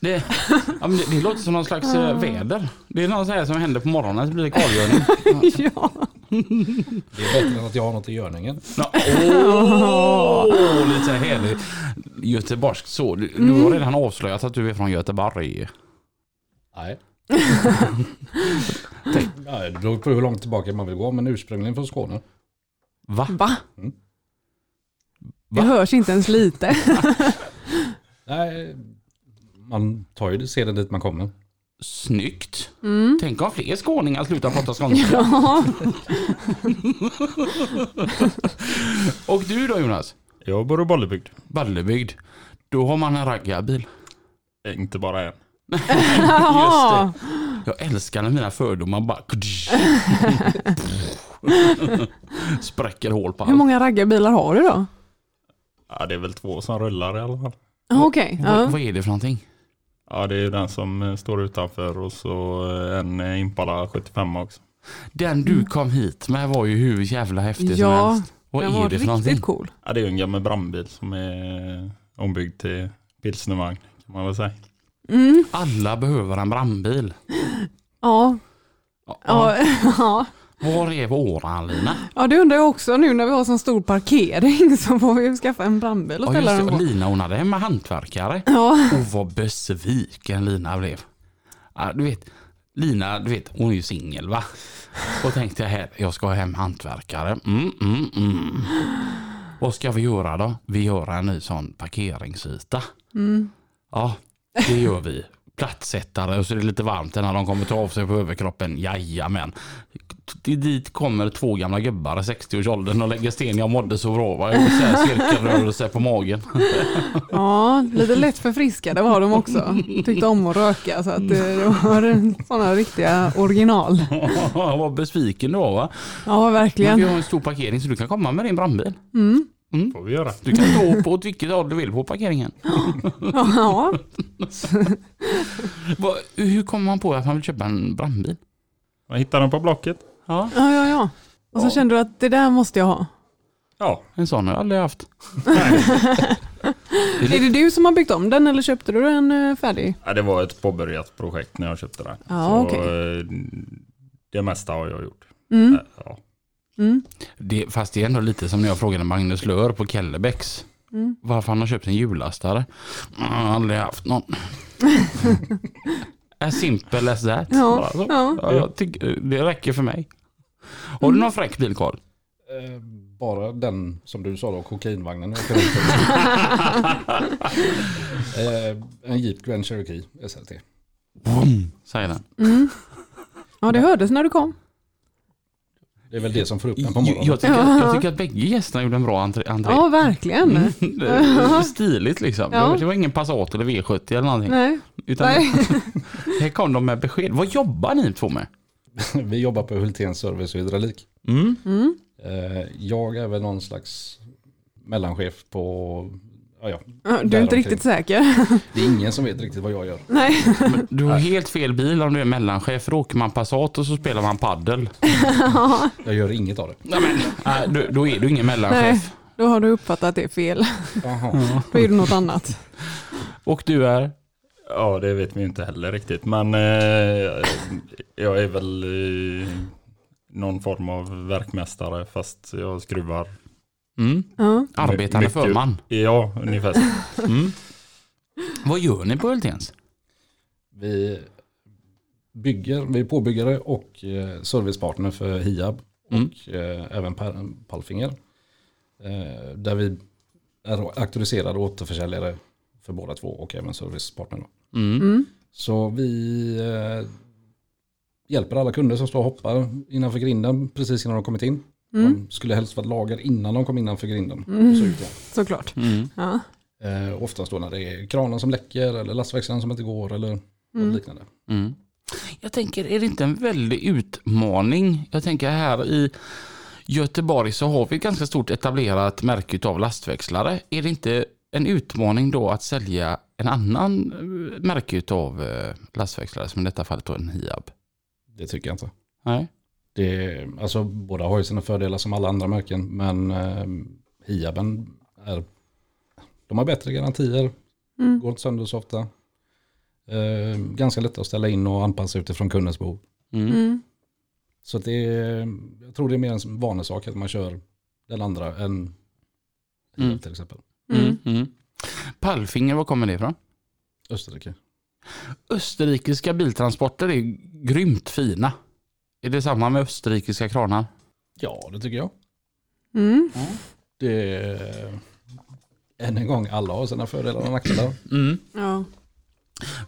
[SPEAKER 1] Det, ja, men det, det låter som någon slags eh, väder. Det är något så här som händer på morgonen så blir det Carl-Görning.
[SPEAKER 2] *laughs* Ja.
[SPEAKER 7] Det är bättre än att jag har något i görningen.
[SPEAKER 1] Ja, *laughs* Åh, lite härligt. Göteborgskt så. Du, du
[SPEAKER 2] Mm.
[SPEAKER 1] har redan avslöjat att du är från Göteborg.
[SPEAKER 7] Nej. *laughs* Nej, det beror på hur långt tillbaka man vill gå, men ursprungligen från Skåne.
[SPEAKER 1] Va?
[SPEAKER 2] Va?
[SPEAKER 7] Mm.
[SPEAKER 2] Det hörs inte ens lite.
[SPEAKER 1] *laughs*
[SPEAKER 7] Nej, man tar ju det sedan dit man kommer.
[SPEAKER 1] Snyggt.
[SPEAKER 2] Mm.
[SPEAKER 1] Tänk om fler skåningar slutar
[SPEAKER 2] *laughs*
[SPEAKER 1] prata skånska. Och du då Jonas?
[SPEAKER 8] Jag bor i Bollebygd.
[SPEAKER 1] Ballebygd. Då har man en raggarbil.
[SPEAKER 8] Inte bara en.
[SPEAKER 2] Jaha.
[SPEAKER 1] Jag älskar när mina fördomar bara... *laughs* Spräcker hål
[SPEAKER 2] *laughs*
[SPEAKER 1] på
[SPEAKER 2] Hur
[SPEAKER 1] allt.
[SPEAKER 2] många raggarbilar har du då?
[SPEAKER 8] Ja, det är väl två som rullar i alla fall.
[SPEAKER 2] Ah, Okej.
[SPEAKER 1] Vad,
[SPEAKER 2] Ja.
[SPEAKER 1] vad är det för någonting?
[SPEAKER 8] Ja, det är ju den som eh, står utanför och så eh, en eh, Impala 75 också.
[SPEAKER 1] Den du kom hit med var ju hur jävla häftig som
[SPEAKER 2] Mm. Ja,
[SPEAKER 1] helst. Vad
[SPEAKER 2] den
[SPEAKER 1] är
[SPEAKER 2] var
[SPEAKER 1] det för
[SPEAKER 2] riktigt
[SPEAKER 1] någonting?
[SPEAKER 2] cool.
[SPEAKER 8] Ja, det är ju en gammal brandbil som är eh, ombyggd till pilsnervagn kan man väl säga.
[SPEAKER 2] Mm.
[SPEAKER 1] Alla behöver en brandbil.
[SPEAKER 2] Ja.
[SPEAKER 1] Ja,
[SPEAKER 2] Ja. Ja.
[SPEAKER 1] Var är våran Lina?
[SPEAKER 2] ja, det undrar jag också nu när vi har sån stor parkering så får vi ju skaffa en brandbil och
[SPEAKER 1] Ja,
[SPEAKER 2] ställa
[SPEAKER 1] just
[SPEAKER 2] den
[SPEAKER 1] det.
[SPEAKER 2] på.
[SPEAKER 1] Lina hon hade hemma hantverkare.
[SPEAKER 2] Ja.
[SPEAKER 1] Och vad besviken Lina blev. Ja, du vet, Lina, du vet, hon är ju singel va? Och tänkte jag här, jag ska ha hem hantverkare. Mm, mm, mm. Vad ska vi göra då? Vi gör en ny sån parkeringsyta. Ja, det gör vi. Plattsättare och så är det lite varmt när de kommer ta av sig på överkroppen. Jajamän. Till Dit kommer två gamla gubbar i 60-årsåldern och lägger sten. Jag mådde så bra. Va? Jag gjorde så här cirkelrörelse på magen.
[SPEAKER 2] ja, lite lätt förfriskade var de också. Tyckte om att röka så att eh, det var sådana riktiga original.
[SPEAKER 1] *laughs* Vad besviken du var va?
[SPEAKER 2] Ja,
[SPEAKER 1] Men vi
[SPEAKER 2] verkligen.
[SPEAKER 1] har en stor parkering så du kan komma med din brandbil.
[SPEAKER 2] Mm.
[SPEAKER 8] får vi göra.
[SPEAKER 1] Du kan stå på åt vilket håll du vill på parkeringen.
[SPEAKER 2] Ja,
[SPEAKER 1] Vad- Hur kommer man på att man vill köpa en brandbil?
[SPEAKER 8] Jag hittade den på Blocket.
[SPEAKER 1] Ja,
[SPEAKER 2] ja, ja. ja. Och så kände du att det där måste jag ha.
[SPEAKER 8] Ja,
[SPEAKER 1] en sån har jag aldrig haft.
[SPEAKER 2] Är det du som har byggt om den eller köpte du den eh, färdig?
[SPEAKER 8] Ja, det var ett påbörjat projekt när jag köpte den.
[SPEAKER 2] Ja,
[SPEAKER 8] Så,
[SPEAKER 2] okej.
[SPEAKER 8] eh, Det mesta har jag gjort.
[SPEAKER 2] Mm.
[SPEAKER 8] Eh, Ja.
[SPEAKER 2] Mm.
[SPEAKER 1] Det, fast det är ändå lite som när jag frågade Magnus Lör på Kellebäcks.
[SPEAKER 2] Mm.
[SPEAKER 1] Varför han har köpt en hjullastare. Mm, Jag har aldrig
[SPEAKER 2] *laughs*
[SPEAKER 1] haft någon. as simple as that.
[SPEAKER 2] Ja,
[SPEAKER 1] Alltså,
[SPEAKER 2] ja.
[SPEAKER 1] ja, jag tycker, det räcker för mig. Har
[SPEAKER 2] Mm.
[SPEAKER 1] du någon fräck bil Carl?
[SPEAKER 7] Eh, Bara den som du sa då, kokainvagnen. jag åker runt
[SPEAKER 8] *laughs*
[SPEAKER 7] i. eh, en Jeep Grand Cherokee SLT.
[SPEAKER 1] Vroom, Säger den.
[SPEAKER 2] Mm. Ja, det hördes när du kom.
[SPEAKER 7] Det är väl det som får upp den på
[SPEAKER 1] Jag,
[SPEAKER 7] morgonen.
[SPEAKER 1] jag, tycker, jag tycker att bägge gästerna gjorde en bra entré. entré.
[SPEAKER 2] Ja, verkligen.
[SPEAKER 1] *laughs*
[SPEAKER 2] *laughs*
[SPEAKER 1] Det är Stiligt liksom.
[SPEAKER 2] Ja.
[SPEAKER 1] Det var ingen Passat eller V70 eller någonting.
[SPEAKER 2] Nej.
[SPEAKER 1] Utan
[SPEAKER 2] Nej.
[SPEAKER 1] här kom de med besked. Vad jobbar ni två med?
[SPEAKER 7] *laughs* Vi jobbar på Hultens Service och Hydraulik.
[SPEAKER 1] Mm.
[SPEAKER 2] Mm.
[SPEAKER 7] Eh, Jag är väl någon slags mellanchef på... Ja, ja.
[SPEAKER 2] Ja, Du är inte riktigt säker.
[SPEAKER 7] Det är ingen som vet riktigt vad jag gör.
[SPEAKER 2] Nej.
[SPEAKER 1] Men Du har helt fel bil om du är mellanchef. För då åker man Passat och så spelar man paddel.
[SPEAKER 7] Jag gör inget av det.
[SPEAKER 1] Nej, men, nej, du, då är du ingen
[SPEAKER 2] Nej.
[SPEAKER 1] mellanchef.
[SPEAKER 2] Då har du uppfattat det fel.
[SPEAKER 7] Jaha.
[SPEAKER 2] *laughs* Då är det något annat.
[SPEAKER 1] Och du är?
[SPEAKER 8] ja, det vet vi inte heller riktigt. Men eh, jag är väl eh, någon form av verkmästare fast jag skruvar.
[SPEAKER 1] Mm.
[SPEAKER 2] Ja.
[SPEAKER 1] Arbetande
[SPEAKER 8] Mycket.
[SPEAKER 1] förman.
[SPEAKER 8] Ja, ungefär.
[SPEAKER 2] *laughs*
[SPEAKER 8] så.
[SPEAKER 1] Mm. Vad gör ni på Hultens?
[SPEAKER 7] Vi bygger, vi är påbyggare och eh, servicepartner för Hiab
[SPEAKER 1] Mm.
[SPEAKER 7] och eh, även Per- Palfinger. Eh, Där vi är auktoriserade återförsäljare för båda två och även servicepartner. Då.
[SPEAKER 1] Mm.
[SPEAKER 2] Mm.
[SPEAKER 7] Så vi eh, hjälper alla kunder som står och hoppar innanför grinden precis innan de kommit in.
[SPEAKER 2] Mm.
[SPEAKER 7] De skulle helst varit lager innan de kom innanför grinden.
[SPEAKER 2] Mm.
[SPEAKER 7] Så ut då.
[SPEAKER 2] Såklart.
[SPEAKER 1] Mm.
[SPEAKER 2] Ja.
[SPEAKER 7] Eh, oftast då när det är kranen som läcker eller lastväxeln som inte går eller något
[SPEAKER 2] Mm.
[SPEAKER 7] liknande.
[SPEAKER 1] Mm. Jag tänker, är det inte en väldig utmaning? Jag tänker här i Göteborg så har vi ett ganska stort etablerat märke av lastväxlare. Är det inte en utmaning då att sälja en annan eh, märke av eh, lastväxlare som i detta fallet då en Hiab?
[SPEAKER 7] Det tycker jag inte.
[SPEAKER 1] Nej.
[SPEAKER 7] Det, alltså, båda har ju sina fördelar som alla andra märken men eh, Hiaben är, de har bättre garantier,
[SPEAKER 2] Mm.
[SPEAKER 7] går inte sönder så ofta. Eh, ganska lätt att ställa in och anpassa utifrån kundens behov.
[SPEAKER 1] Mm.
[SPEAKER 2] Mm.
[SPEAKER 7] Så att det är, jag tror det är mer en vanesak att man kör den andra än Hiab
[SPEAKER 1] Mm.
[SPEAKER 7] till exempel.
[SPEAKER 1] Mm.
[SPEAKER 2] Mm.
[SPEAKER 1] Mm. Pallfinger, var kommer det ifrån?
[SPEAKER 7] Österrike.
[SPEAKER 1] Österrikiska biltransporter är grymt fina. Är det samma med österrikiska kranar?
[SPEAKER 7] Ja, det tycker jag.
[SPEAKER 2] Mm.
[SPEAKER 7] Det är, än en gång, alla har sina fördelar och nackdelar.
[SPEAKER 1] Mm.
[SPEAKER 2] Ja.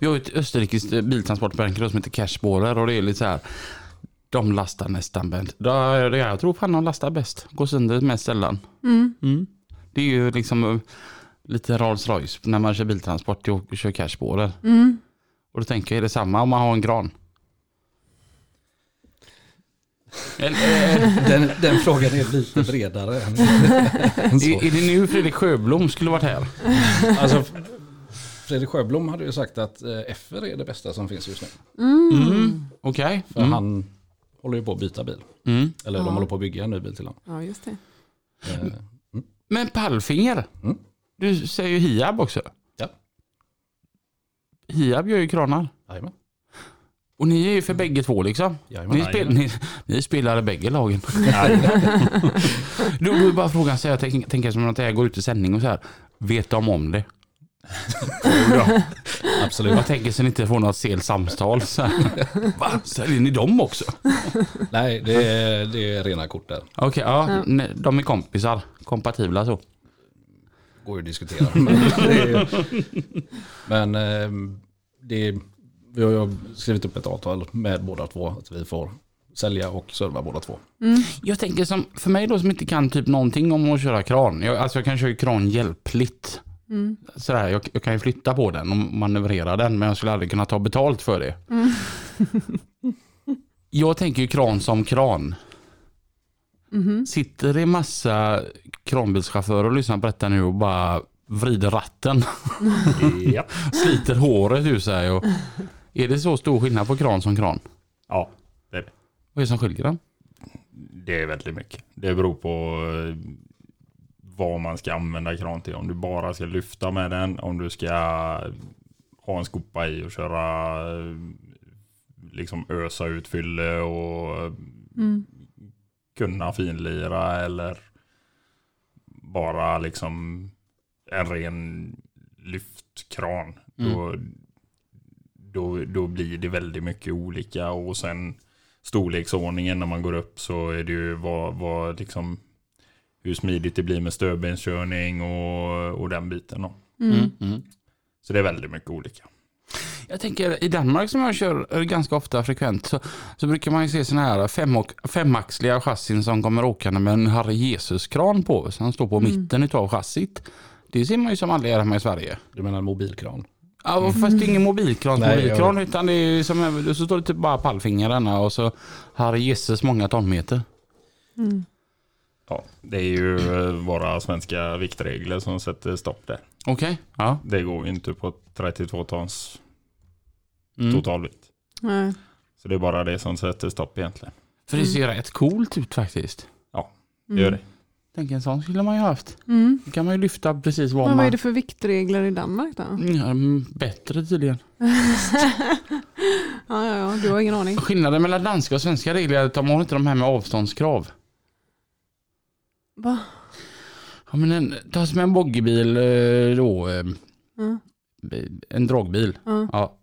[SPEAKER 1] Vi har ju ett österrikiskt eh, biltransportmärke som heter Cashborer och det är lite så här. De lastar nästan bäst. Det är- det är- Jag tror fan de lastar bäst. Går sönder mest sällan.
[SPEAKER 2] Mm.
[SPEAKER 1] Det är ju liksom eh, lite Rolls Royce när man kör biltransport och kör Cashborer.
[SPEAKER 2] Mm.
[SPEAKER 1] Och då tänker jag, är det samma om man har en gran? Eller, eh,
[SPEAKER 7] Den, den frågan är lite bredare än, än så.
[SPEAKER 1] är, är det nu Fredrik Sjöblom skulle varit här?
[SPEAKER 7] Alltså, Fredrik Sjöblom hade ju sagt att eh, FR är det bästa som finns just nu.
[SPEAKER 1] Mm. Okej.
[SPEAKER 7] För
[SPEAKER 1] Mm.
[SPEAKER 7] han håller ju på att byta bil.
[SPEAKER 1] Mm.
[SPEAKER 7] Eller
[SPEAKER 2] Ja.
[SPEAKER 7] de håller på att bygga en ny bil till honom.
[SPEAKER 2] Ja, just det.
[SPEAKER 7] Eh,
[SPEAKER 1] Men pallfinger.
[SPEAKER 7] Mm.
[SPEAKER 1] Du säger ju Hiab också.
[SPEAKER 7] Ja.
[SPEAKER 1] Hiab gör ju kranar.
[SPEAKER 7] Jajamän.
[SPEAKER 1] Och ni är ju för bägge två liksom.
[SPEAKER 7] Jajamän.
[SPEAKER 1] Ni, spel, ni, ni spelade bägge lagen. *laughs* Då blir bara frågan, så här, jag tänker, tänker som att jag går ut i sändning och så här. Vet de om det? *laughs*
[SPEAKER 7] Absolut.
[SPEAKER 1] Jag tänker så ni inte får något sel samtal. Så här. Va? Säljer ni dem också?
[SPEAKER 7] Nej, det är, det är rena kort där.
[SPEAKER 1] Okej, ja, ne- de är kompisar. Kompatibla så.
[SPEAKER 7] Går ju att diskutera. *laughs* Men, det är, men eh, det är, vi har ju skrivit upp ett avtal med båda två. Att vi får sälja och serva båda två.
[SPEAKER 1] Jag tänker som, för mig då som inte kan typ någonting om att köra kran. Jag, alltså jag kan köra kran hjälpligt. Sådär, jag, jag kan ju flytta på den och manövrera den men jag skulle aldrig kunna ta betalt för det. *laughs* jag tänker ju kran som kran. Sitter det massa kranbilschaufförer lyssnar på detta nu och bara vrider ratten, *laughs*
[SPEAKER 8] Ja.
[SPEAKER 1] sliter håret ur sig. Och är det så stor skillnad på kran som kran?
[SPEAKER 8] ja, det är det.
[SPEAKER 1] Vad är det som skiljer den?
[SPEAKER 8] Det är väldigt mycket. Det beror på eh, vad man ska använda kran till. Om du bara ska lyfta med den, om du ska ha en skopa i och köra eh, liksom ösa ut fylle och eh,
[SPEAKER 2] Mm.
[SPEAKER 8] kunna finlira eller bara liksom en ren lyftkran. Då, då, då blir det väldigt mycket olika och sen storleksordningen när man går upp så är det ju vad, vad liksom hur smidigt det blir med stödbenskörning och, och den biten. Då.
[SPEAKER 2] Mm.
[SPEAKER 8] Så det är väldigt mycket olika.
[SPEAKER 1] Jag tänker i Danmark som jag kör eh, ganska ofta frekvent så, så brukar man ju se sådana här fem och, femaxliga chassin som kommer åkande med en Herre Jesus-kran på. Så han står på mitten utav chassit. Det ser man ju som aldrig är hemma i Sverige.
[SPEAKER 7] Du menar en mobilkran?
[SPEAKER 1] Ja, och fast det är ingen mobilkran,
[SPEAKER 7] Nej,
[SPEAKER 1] mobilkran utan det är ju som, en- så står det typ bara pallfingrarna och så Herre Jesus många tonmeter.
[SPEAKER 2] Mm.
[SPEAKER 8] Ja, det är ju eh, våra svenska viktregler som sätter stopp där.
[SPEAKER 1] Okej, ja.
[SPEAKER 8] Det går ju inte på 32 tons
[SPEAKER 1] Mm.
[SPEAKER 8] totalvikt.
[SPEAKER 2] Nej.
[SPEAKER 8] Så det är bara det som sätter stopp egentligen.
[SPEAKER 1] För det ser rätt coolt ut faktiskt.
[SPEAKER 8] Det gör det.
[SPEAKER 1] Tänk en sån skulle man ju haft.
[SPEAKER 2] Mm.
[SPEAKER 1] Då kan man ju lyfta precis vad
[SPEAKER 2] Men
[SPEAKER 1] man...
[SPEAKER 2] vad är det för viktregler i Danmark då?
[SPEAKER 1] Mm, bättre tydligen.
[SPEAKER 2] *laughs* ja, ja, ja, du har ingen aning.
[SPEAKER 1] Skillnaden mellan danska och svenska regler är att de har inte de här med avståndskrav.
[SPEAKER 2] Va?
[SPEAKER 1] Ja, men en, ta som en bogeybil eh, då, eh,
[SPEAKER 2] Ja.
[SPEAKER 1] en dragbil.
[SPEAKER 2] Ja.
[SPEAKER 1] Ja.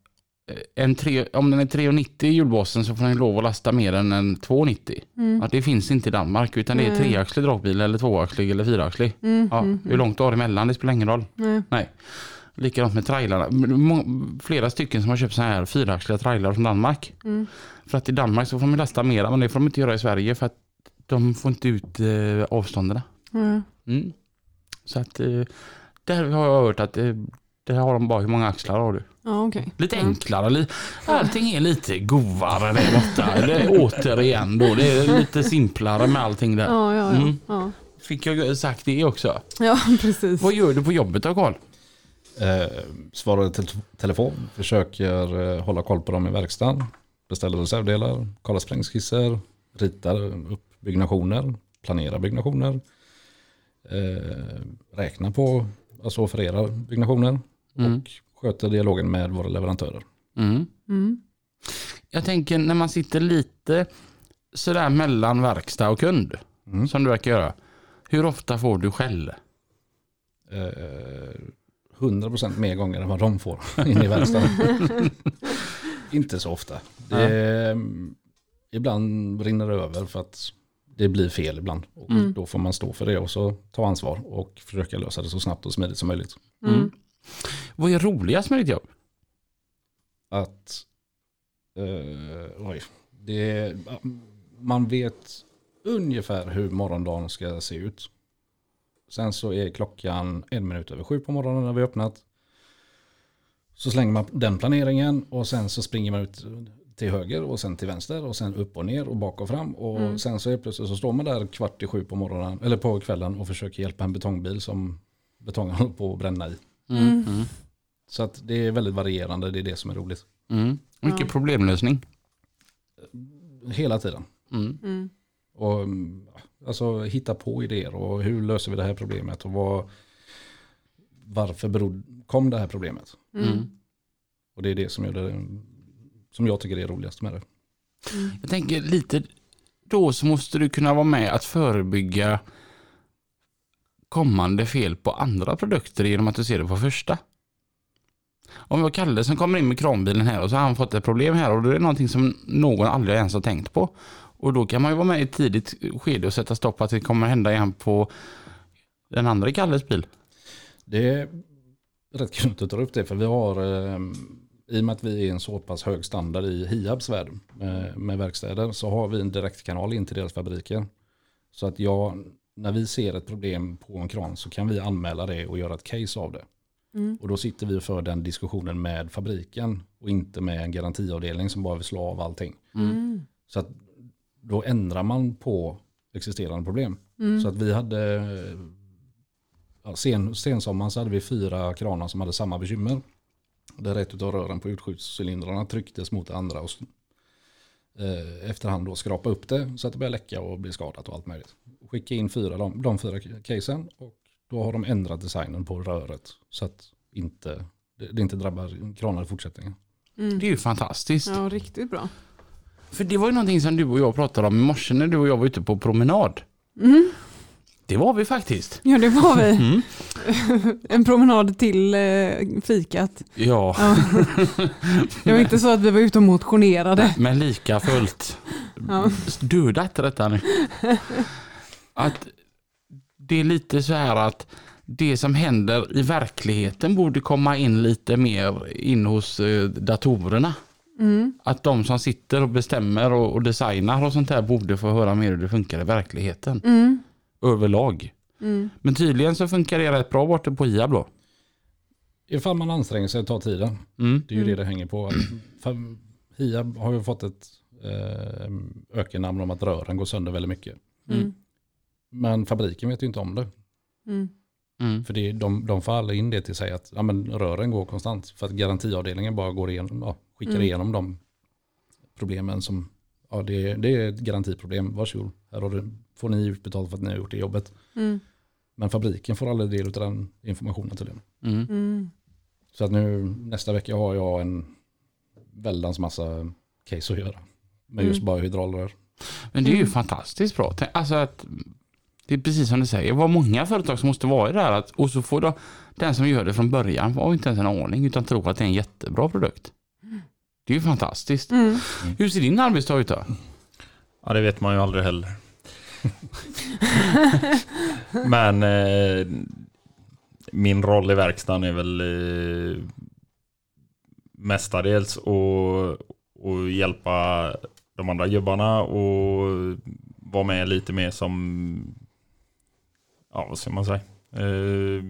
[SPEAKER 1] Eh, En tre, om den är 3,90 i hjulbasen så får den lov att lasta mer än en 2,90.
[SPEAKER 2] Mm.
[SPEAKER 1] Ja, det finns inte i Danmark utan det är
[SPEAKER 2] Nej.
[SPEAKER 1] treaxlig dragbil eller tvåaxlig eller fyraxlig.
[SPEAKER 2] Mm,
[SPEAKER 1] Ja,
[SPEAKER 2] mm,
[SPEAKER 1] Hur långt du har emellan det spelar ingen roll.
[SPEAKER 2] Nej.
[SPEAKER 1] Likadant med trailarna. Må- Flera stycken som har köpt så här fyraxliga trailar från Danmark.
[SPEAKER 2] Mm.
[SPEAKER 1] För att i Danmark så får man lasta mera men det får de inte göra i Sverige för att de får inte ut eh, avstånden.
[SPEAKER 2] Ja.
[SPEAKER 1] Mm. Så att eh, där har jag hört att eh, där har de bara hur många axlar har du.
[SPEAKER 2] Ja, okej.
[SPEAKER 1] Lite
[SPEAKER 2] Ja.
[SPEAKER 1] enklare. Li- allting är lite govare där
[SPEAKER 2] *laughs*
[SPEAKER 1] borta. Eller återigen då. Det är lite simplare med allting där.
[SPEAKER 2] Ja, ja, ja.
[SPEAKER 1] Mm.
[SPEAKER 2] ja.
[SPEAKER 1] Fick jag sagt det också.
[SPEAKER 2] ja *laughs* precis.
[SPEAKER 1] Vad gör du på jobbet då Karl?
[SPEAKER 7] Eh, svarar i te- telefon, försöker eh, hålla koll på dem i verkstaden, beställer reservdelar, kollar sprängskisser, ritar upp byggnationer, planerar byggnationer, eh, räknar på, alltså offererar byggnationer
[SPEAKER 1] Mm.
[SPEAKER 7] och sköter dialogen med våra leverantörer.
[SPEAKER 1] Mm.
[SPEAKER 2] Mm.
[SPEAKER 1] Jag tänker när man sitter lite sådär mellan verkstad och kund.
[SPEAKER 7] Mm.
[SPEAKER 1] Som du verkar göra. Hur ofta får du skäll?
[SPEAKER 7] Eh, 100% mer gånger än vad de får *laughs* inne i verkstaden. Inte så ofta. Det, eh, Ibland rinner det över för att det blir fel ibland. Och
[SPEAKER 2] Mm.
[SPEAKER 7] Då får man stå för det och så ta ansvar och försöka lösa det så snabbt och smidigt som möjligt.
[SPEAKER 2] Mm.
[SPEAKER 1] Vad är roligast med ditt jobb?
[SPEAKER 7] Att eh, oj, det, man vet ungefär hur morgondagen ska se ut. Sen så är klockan en minut över sju på morgonen när vi har öppnat. Så slänger man den planeringen och sen så springer man ut till höger och sen till vänster och sen upp och ner och bak och fram. Och sen så är plötsligt så står man där kvart i sju på morgonen eller på kvällen och försöker hjälpa en betongbil som betongen håller på att bränna i.
[SPEAKER 1] Mm.
[SPEAKER 7] Så att det är väldigt varierande, det är det som är roligt.
[SPEAKER 1] Mm. Mycket problemlösning.
[SPEAKER 7] Hela tiden.
[SPEAKER 1] Mm.
[SPEAKER 2] Mm.
[SPEAKER 7] Och mm, alltså, hitta på idéer och hur löser vi det här problemet och vad, varför berod, kom det här problemet?
[SPEAKER 1] Mm.
[SPEAKER 7] Och det är det som, gör det som jag tycker är roligast med det.
[SPEAKER 1] Jag tänker lite då så måste du kunna vara med att förebygga kommande fel på andra produkter genom att du ser det på första. Om jag och Kalle som kommer in med kranbilen här och så har han fått ett problem här och det är någonting som någon aldrig ens har tänkt på. Och då kan man ju vara med i ett tidigt skede och sätta stopp att det kommer hända igen på den andra Kalles bil.
[SPEAKER 7] Det är rätt kul att du tar upp det för vi har, eh, i och med att vi är en så pass hög standard i Hiabs värld eh, med verkstäder så har vi en direktkanal in till deras fabriker. Så att jag, när vi ser ett problem på en kran så kan vi anmäla det och göra ett case av det.
[SPEAKER 2] Mm.
[SPEAKER 7] Och då sitter vi och för den diskussionen med fabriken och inte med en garantiavdelning som bara vill slå av allting.
[SPEAKER 2] Mm.
[SPEAKER 7] Så
[SPEAKER 2] Mm.
[SPEAKER 7] att då ändrar man på existerande problem. Så att vi hade ja, sen, sensommaren så hade vi fyra kranar som hade samma bekymmer. Där ett av rören på utskjutscylindrarna trycktes mot det andra och s- eh, efterhand då skrapa upp det så att det började läcka och bli skadat och allt möjligt. Skicka in fyra, de, de fyra casen och då har de ändrat designen på röret så att inte, det, det inte drabbar kranar i fortsättningen.
[SPEAKER 1] Det är ju fantastiskt.
[SPEAKER 2] Mm. Ja, riktigt bra.
[SPEAKER 1] För det var ju någonting som du och jag pratade om i morse när du och jag var ute på promenad. Det var vi faktiskt.
[SPEAKER 2] Mm. Ja, det var vi.
[SPEAKER 1] Mm.
[SPEAKER 2] *laughs* en promenad till eh, fikat.
[SPEAKER 1] Ja, *laughs*
[SPEAKER 2] Det var inte så att vi var ute och motionerade.
[SPEAKER 1] men lika fullt.
[SPEAKER 2] Ja.
[SPEAKER 1] Döda inte detta nu. Att det är lite så här att det som händer i verkligheten borde komma in lite mer in hos eh, datorerna. Att de som sitter och bestämmer och, och designar och sånt där borde få höra mer hur det funkar i verkligheten. Överlag. Men tydligen så funkar det rätt bra borta på Hiab då.
[SPEAKER 7] Ifall man anstränger sig och tar tiden.
[SPEAKER 1] Mm.
[SPEAKER 7] Det är ju det det hänger på. För Hiab har ju fått ett eh, ökennamn om att rören går sönder väldigt mycket.
[SPEAKER 2] Mm.
[SPEAKER 7] Men fabriken vet ju inte om det.
[SPEAKER 2] Mm.
[SPEAKER 7] För det, är- de, de får aldrig in det till sig att ja, men rören går konstant. För att garantiavdelningen bara går igenom, ja, skickar igenom de problemen som, ja det, är- det är ett garantiproblem, varsågod. Här har du, får ni utbetalt för att ni har gjort det jobbet.
[SPEAKER 2] Mm.
[SPEAKER 7] Men fabriken får aldrig del av den informationen tydligen.
[SPEAKER 1] Mm.
[SPEAKER 2] Mm.
[SPEAKER 7] Så att nu nästa vecka har jag en väldans massa case att göra. Med just bara hydraulrör.
[SPEAKER 1] Men det är ju fantastiskt bra. Tänk- Alltså att, det är precis som du säger, vad många företag som måste vara i det här. Att, och så får då, den som gör det från början har ju inte ens en aning utan tror att det är en jättebra produkt. Det är ju fantastiskt.
[SPEAKER 2] Mm.
[SPEAKER 1] Hur ser din arbetsdag ut då?
[SPEAKER 8] Ja, det vet man ju aldrig heller. Men eh, min roll i verkstaden är väl eh, mestadels att, att hjälpa de andra gubbarna och vara med lite mer som, ja vad ska man säga? Eh,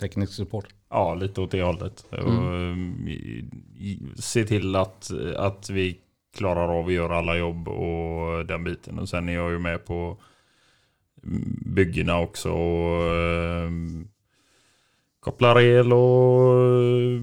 [SPEAKER 7] Teknisk support.
[SPEAKER 8] Ja, lite åt det hållet. Och, eh, i- se till att, att vi klarar av att göra alla jobb och den biten. Och sen är jag ju med på mm, byggena också. Och, eh, kopplar el och eh,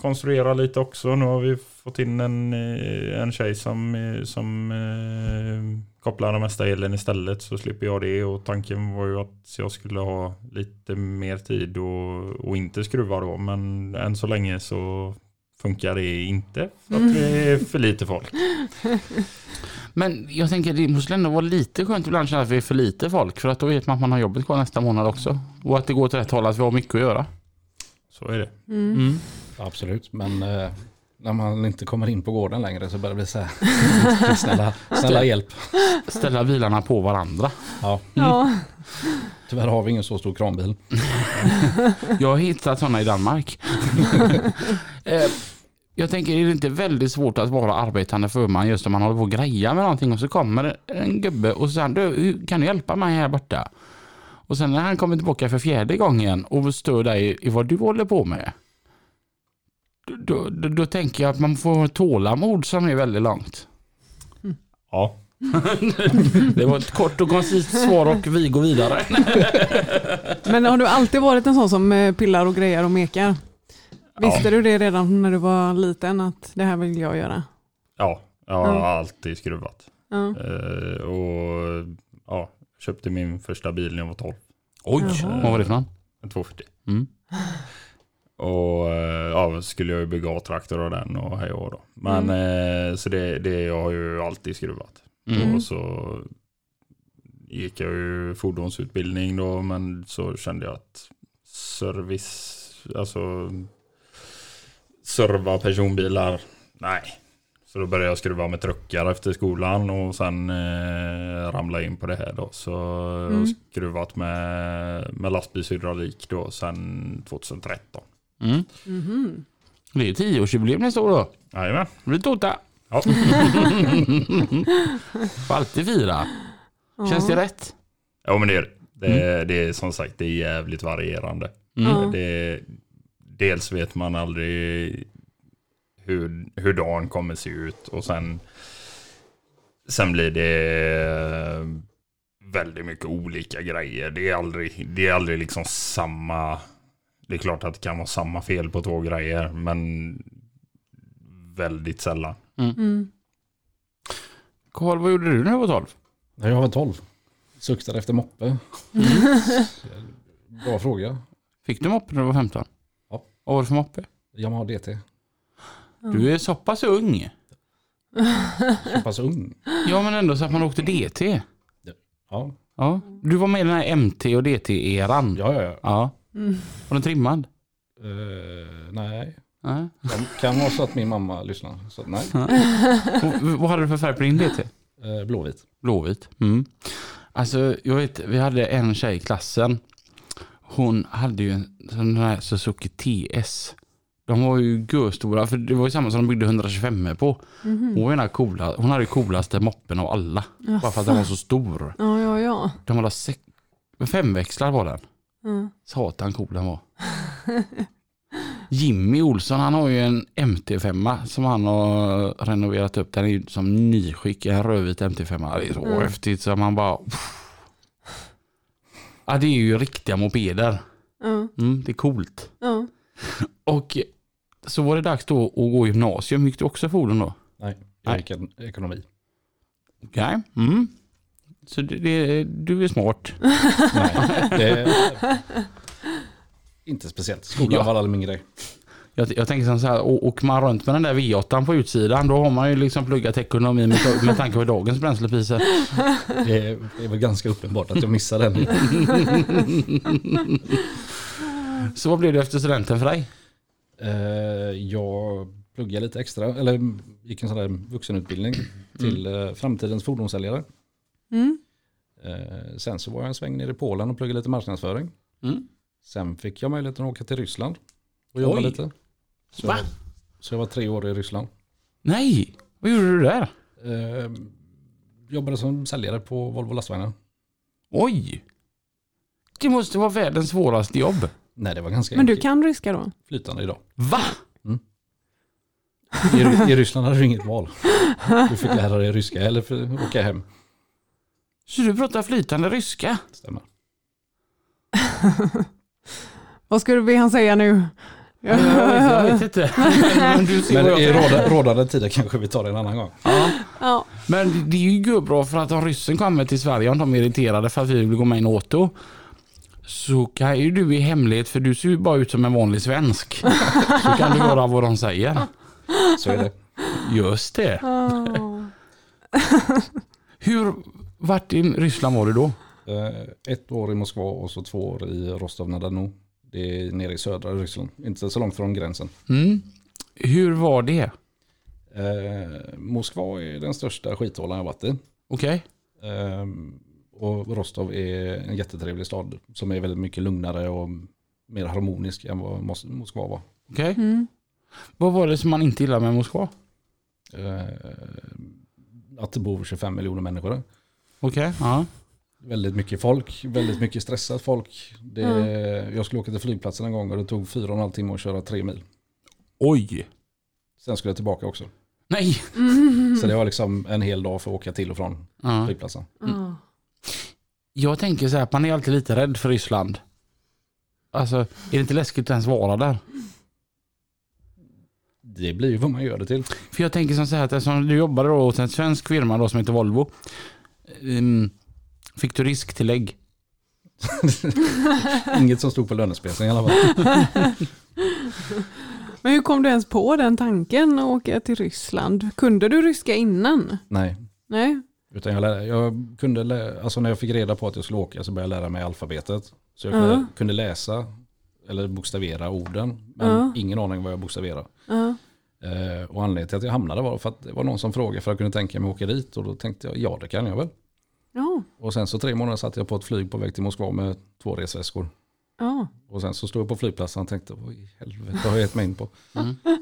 [SPEAKER 8] konstruerar lite också. Nu har vi fått in en, eh, en tjej som, eh, som eh, kopplar den mesta elen istället så slipper jag det. Och tanken var ju att jag skulle ha lite mer tid och, och inte skruva då. Men än så länge så funkar det inte för att vi är för lite folk.
[SPEAKER 1] Men jag tänker det måste ändå vara lite skönt ibland att känna att vi är för lite folk för att då vet man att man har jobbet kvar nästa månad också. Och att det går åt rätt håll, att vi har mycket att göra.
[SPEAKER 8] Så är det.
[SPEAKER 7] Absolut, men eh, när man inte kommer in på gården längre så börjar det bli så här. snälla, snälla hjälp.
[SPEAKER 1] Ställa bilarna på varandra.
[SPEAKER 7] Ja,
[SPEAKER 2] Ja.
[SPEAKER 7] tyvärr har vi ingen så stor kranbil.
[SPEAKER 1] Jag har hittat sådana i Danmark. Eh, jag tänker, är det inte väldigt svårt att vara arbetande förman just om man håller på och grejar med någonting och så kommer en gubbe och så säger han, du, hur- kan du hjälpa mig här borta? Och sen när han kommer tillbaka för fjärde gången och stör dig i vad du håller på med. Då, då, då tänker jag att man får ha ett tålamod som är väldigt långt.
[SPEAKER 8] Ja.
[SPEAKER 1] Det var ett kort och koncist svar och vi går vidare.
[SPEAKER 2] Men har du alltid varit en sån som eh, pillar och grejer och mekar? Visste du det redan när du var liten att det här vill jag göra?
[SPEAKER 8] Ja, jag har
[SPEAKER 2] Ja.
[SPEAKER 8] alltid skruvat.
[SPEAKER 2] Ja.
[SPEAKER 1] Mm.
[SPEAKER 8] Eh, och ja, jag köpte min första bil när jag var 12.
[SPEAKER 1] Oj,
[SPEAKER 2] Jaha.
[SPEAKER 1] vad var det för någon?
[SPEAKER 8] En 240.
[SPEAKER 1] Mm.
[SPEAKER 8] Och eh, ja, skulle jag ju bygga A-traktor av den och hej och då. Men eh, så det, det jag har ju alltid skruvat.
[SPEAKER 1] Mm.
[SPEAKER 8] Och så gick jag ju fordonsutbildning då men så kände jag att service, alltså serva personbilar, nej. Så då började jag skruva med truckar efter skolan och sen eh, ramlade jag in på det här då. Så jag har skruvat med, med lastbilshydraulik då sen 2013.
[SPEAKER 1] Mm. Det är tioårsjubileum nästa år då.
[SPEAKER 8] Jajamän.
[SPEAKER 1] Det blir tårta.
[SPEAKER 8] Ja.
[SPEAKER 1] Får alltid fira. Känns det rätt?
[SPEAKER 8] ja men det är det. Det är, det är som sagt det är jävligt varierande.
[SPEAKER 1] Mm.
[SPEAKER 2] Ja.
[SPEAKER 8] Det, dels vet man aldrig hur, hur dagen kommer se ut och sen, sen blir det eh, väldigt mycket olika grejer. Det är aldrig, det är aldrig liksom samma... Det är klart att det kan vara samma fel på två grejer, men väldigt sällan.
[SPEAKER 2] Mm.
[SPEAKER 1] Karl, vad gjorde du när du var 12?
[SPEAKER 7] Nej, jag var 12. Suktade efter moppe.
[SPEAKER 1] Mm.
[SPEAKER 7] Bra fråga.
[SPEAKER 1] Fick du moppe när du var 15?
[SPEAKER 7] Ja.
[SPEAKER 1] Vad var det för moppe?
[SPEAKER 7] Yamaha DT.
[SPEAKER 1] Du är så pass ung.
[SPEAKER 7] Så pass ung.
[SPEAKER 1] Ja men ändå så att man åkte DT.
[SPEAKER 7] Ja,
[SPEAKER 1] Ja. Du var med i den här MT och DT-eran.
[SPEAKER 7] ja, ja. ja.
[SPEAKER 1] Ja.
[SPEAKER 2] Mm.
[SPEAKER 1] Var den trimmad?
[SPEAKER 7] Eh, nej,
[SPEAKER 1] Nej.
[SPEAKER 7] det kan vara så att min mamma lyssnar. Så att, nej.
[SPEAKER 1] Och Vad hade du för färg på din DT?
[SPEAKER 7] Eh, blåvit.
[SPEAKER 1] Blåvit. Mm. Alltså, jag vet, vi hade en tjej i klassen. Hon hade ju en sån här Suzuki TS. De var ju görstora, för det var ju samma som de byggde 125 på.
[SPEAKER 2] Mm. Mhm.
[SPEAKER 1] Hon, var ju den här coola, hon hade ju coolaste moppen av alla. Bara för att den var så stor.
[SPEAKER 2] Ja, ja, ja.
[SPEAKER 1] Den var alla sex, femväxlar var den.
[SPEAKER 2] Mm.
[SPEAKER 1] Satan cool den var. Jimmy Olsson han har ju en MT5 som han har renoverat upp. Den är ju som nyskick, en rödvit MT5. Det är så
[SPEAKER 2] Mm.
[SPEAKER 1] häftigt så man bara... Ja det är ju riktiga mopeder.
[SPEAKER 2] Ja,
[SPEAKER 1] Mm, det är coolt.
[SPEAKER 2] ja.
[SPEAKER 1] *laughs* Och så var det dags då att gå gymnasium. Gick du också fordon då?
[SPEAKER 7] Nej, jag
[SPEAKER 1] Nej.
[SPEAKER 7] gick en ekonomi.
[SPEAKER 1] Okej. Mm. Så det, det, du är smart.
[SPEAKER 7] Nej, det är inte speciellt. Skolan
[SPEAKER 1] Ja.
[SPEAKER 7] var aldrig min grej.
[SPEAKER 1] Jag, jag tänker som så här, å- åker man runt med den där V8 på utsidan då har man ju liksom pluggat ekonomi med, med tanke på dagens bränslepriser.
[SPEAKER 7] Det är, det är väl ganska uppenbart att jag missade den.
[SPEAKER 1] Så vad blev det efter studenten för dig?
[SPEAKER 7] Eh, jag pluggade lite extra, eller gick en sån där vuxenutbildning
[SPEAKER 1] Mm.
[SPEAKER 7] till eh, framtidens fordonssäljare.
[SPEAKER 2] Mm.
[SPEAKER 7] Eh, sen så var jag en sväng ner i Polen och pluggade lite marknadsföring.
[SPEAKER 1] Mm.
[SPEAKER 7] Sen fick jag möjligheten att åka till Ryssland och jobba
[SPEAKER 1] Oj.
[SPEAKER 7] lite. Så,
[SPEAKER 1] Va?
[SPEAKER 7] så jag var tre år i Ryssland.
[SPEAKER 1] Nej, vad gjorde du där?
[SPEAKER 7] Eh, jobbade som säljare på Volvo lastvagnar.
[SPEAKER 1] Oj! Det måste vara världens svåraste jobb.
[SPEAKER 7] Nej det var ganska
[SPEAKER 2] Men du
[SPEAKER 1] typ-
[SPEAKER 7] enkelt.
[SPEAKER 2] kan ryska då?
[SPEAKER 7] flytande idag.
[SPEAKER 1] Va?
[SPEAKER 7] I, Ry- I Ryssland hade du inget val. Du fick lära dig ryska eller för, åka hem.
[SPEAKER 1] Så du pratar flytande ryska?
[SPEAKER 7] Stämmer.
[SPEAKER 2] Vad skulle vi han säga nu?
[SPEAKER 1] Jag vet, jag vet
[SPEAKER 7] *laughs*
[SPEAKER 1] inte. Men, du ser
[SPEAKER 7] Men
[SPEAKER 1] vad jag
[SPEAKER 7] i
[SPEAKER 1] tänker.
[SPEAKER 7] råda- rådande tider kanske vi tar det en annan gång.
[SPEAKER 2] *laughs* Ja.
[SPEAKER 1] Men det är ju bra för att om ryssen kommer till Sverige, om de är irriterade för att vi vill gå med i NATO, så kan ju du i hemlighet, för du ser ju bara ut som en vanlig svensk, så kan du höra vad de säger.
[SPEAKER 7] Så är det.
[SPEAKER 1] Just det.
[SPEAKER 2] Oh.
[SPEAKER 1] Hur, vart i Ryssland var du då?
[SPEAKER 7] Eh, Ett år i Moskva och så två år i Rostov na Donu. Det är nere i södra Ryssland, inte så långt från gränsen.
[SPEAKER 1] Mm. Hur var det?
[SPEAKER 7] Eh, Moskva är den största skithålan jag varit i.
[SPEAKER 1] Okej.
[SPEAKER 7] Eh, och Rostov är en jättetrevlig stad som är väldigt mycket lugnare och mer harmonisk än vad Mos- Moskva var.
[SPEAKER 1] Okej.
[SPEAKER 2] Mm.
[SPEAKER 1] Vad var det som man inte gillade med Moskva?
[SPEAKER 7] Eh, att det bor 25 miljoner människor där.
[SPEAKER 1] Okej. Ja.
[SPEAKER 7] Väldigt mycket folk, väldigt mycket stressat folk. Det, Jag skulle åka till flygplatsen en gång och det tog fyra och en halv timme att köra tre mil.
[SPEAKER 1] Oj.
[SPEAKER 7] Sen skulle jag tillbaka också.
[SPEAKER 1] Nej.
[SPEAKER 7] Så det var liksom en hel dag för att åka till och från
[SPEAKER 1] Ja.
[SPEAKER 7] flygplatsen.
[SPEAKER 2] Mm. Ja. *laughs*
[SPEAKER 1] Jag tänker så här, att man är alltid lite rädd för Ryssland. Alltså, är det inte läskigt att ens vara där?
[SPEAKER 7] Det blir ju vad man gör det till. *laughs*
[SPEAKER 1] För jag tänker som så här, att eftersom du jobbade då åt en svensk firma då som heter Volvo. ehm, fick du risktillägg?
[SPEAKER 7] Inget som stod på lönespecifikationen i alla fall.
[SPEAKER 2] Men hur kom du ens på den tanken att åka till Ryssland? Kunde du ryska innan?
[SPEAKER 7] Nej.
[SPEAKER 2] Nej?
[SPEAKER 7] Utan jag, lärde, jag kunde, lä- alltså när jag fick reda på att jag skulle åka så började jag lära mig alfabetet. Så jag kunde,
[SPEAKER 2] Ja.
[SPEAKER 7] kunde läsa eller bokstavera orden. Men
[SPEAKER 2] Ja.
[SPEAKER 7] ingen aning vad jag bokstaverade.
[SPEAKER 2] Ja.
[SPEAKER 7] Eh, och anledningen till att jag hamnade var för att det var någon som frågade för jag kunde tänka mig att åka dit. Och då tänkte jag, ja det kan jag väl.
[SPEAKER 2] Ja.
[SPEAKER 7] Och sen så tre månader satt jag på ett flyg på väg till Moskva med två resväskor.
[SPEAKER 2] ja.
[SPEAKER 1] Mm.
[SPEAKER 7] Och sen så stod jag på flygplatsen och tänkte, vad i helvete har jag gett mig in på?
[SPEAKER 2] Mm.
[SPEAKER 7] *laughs*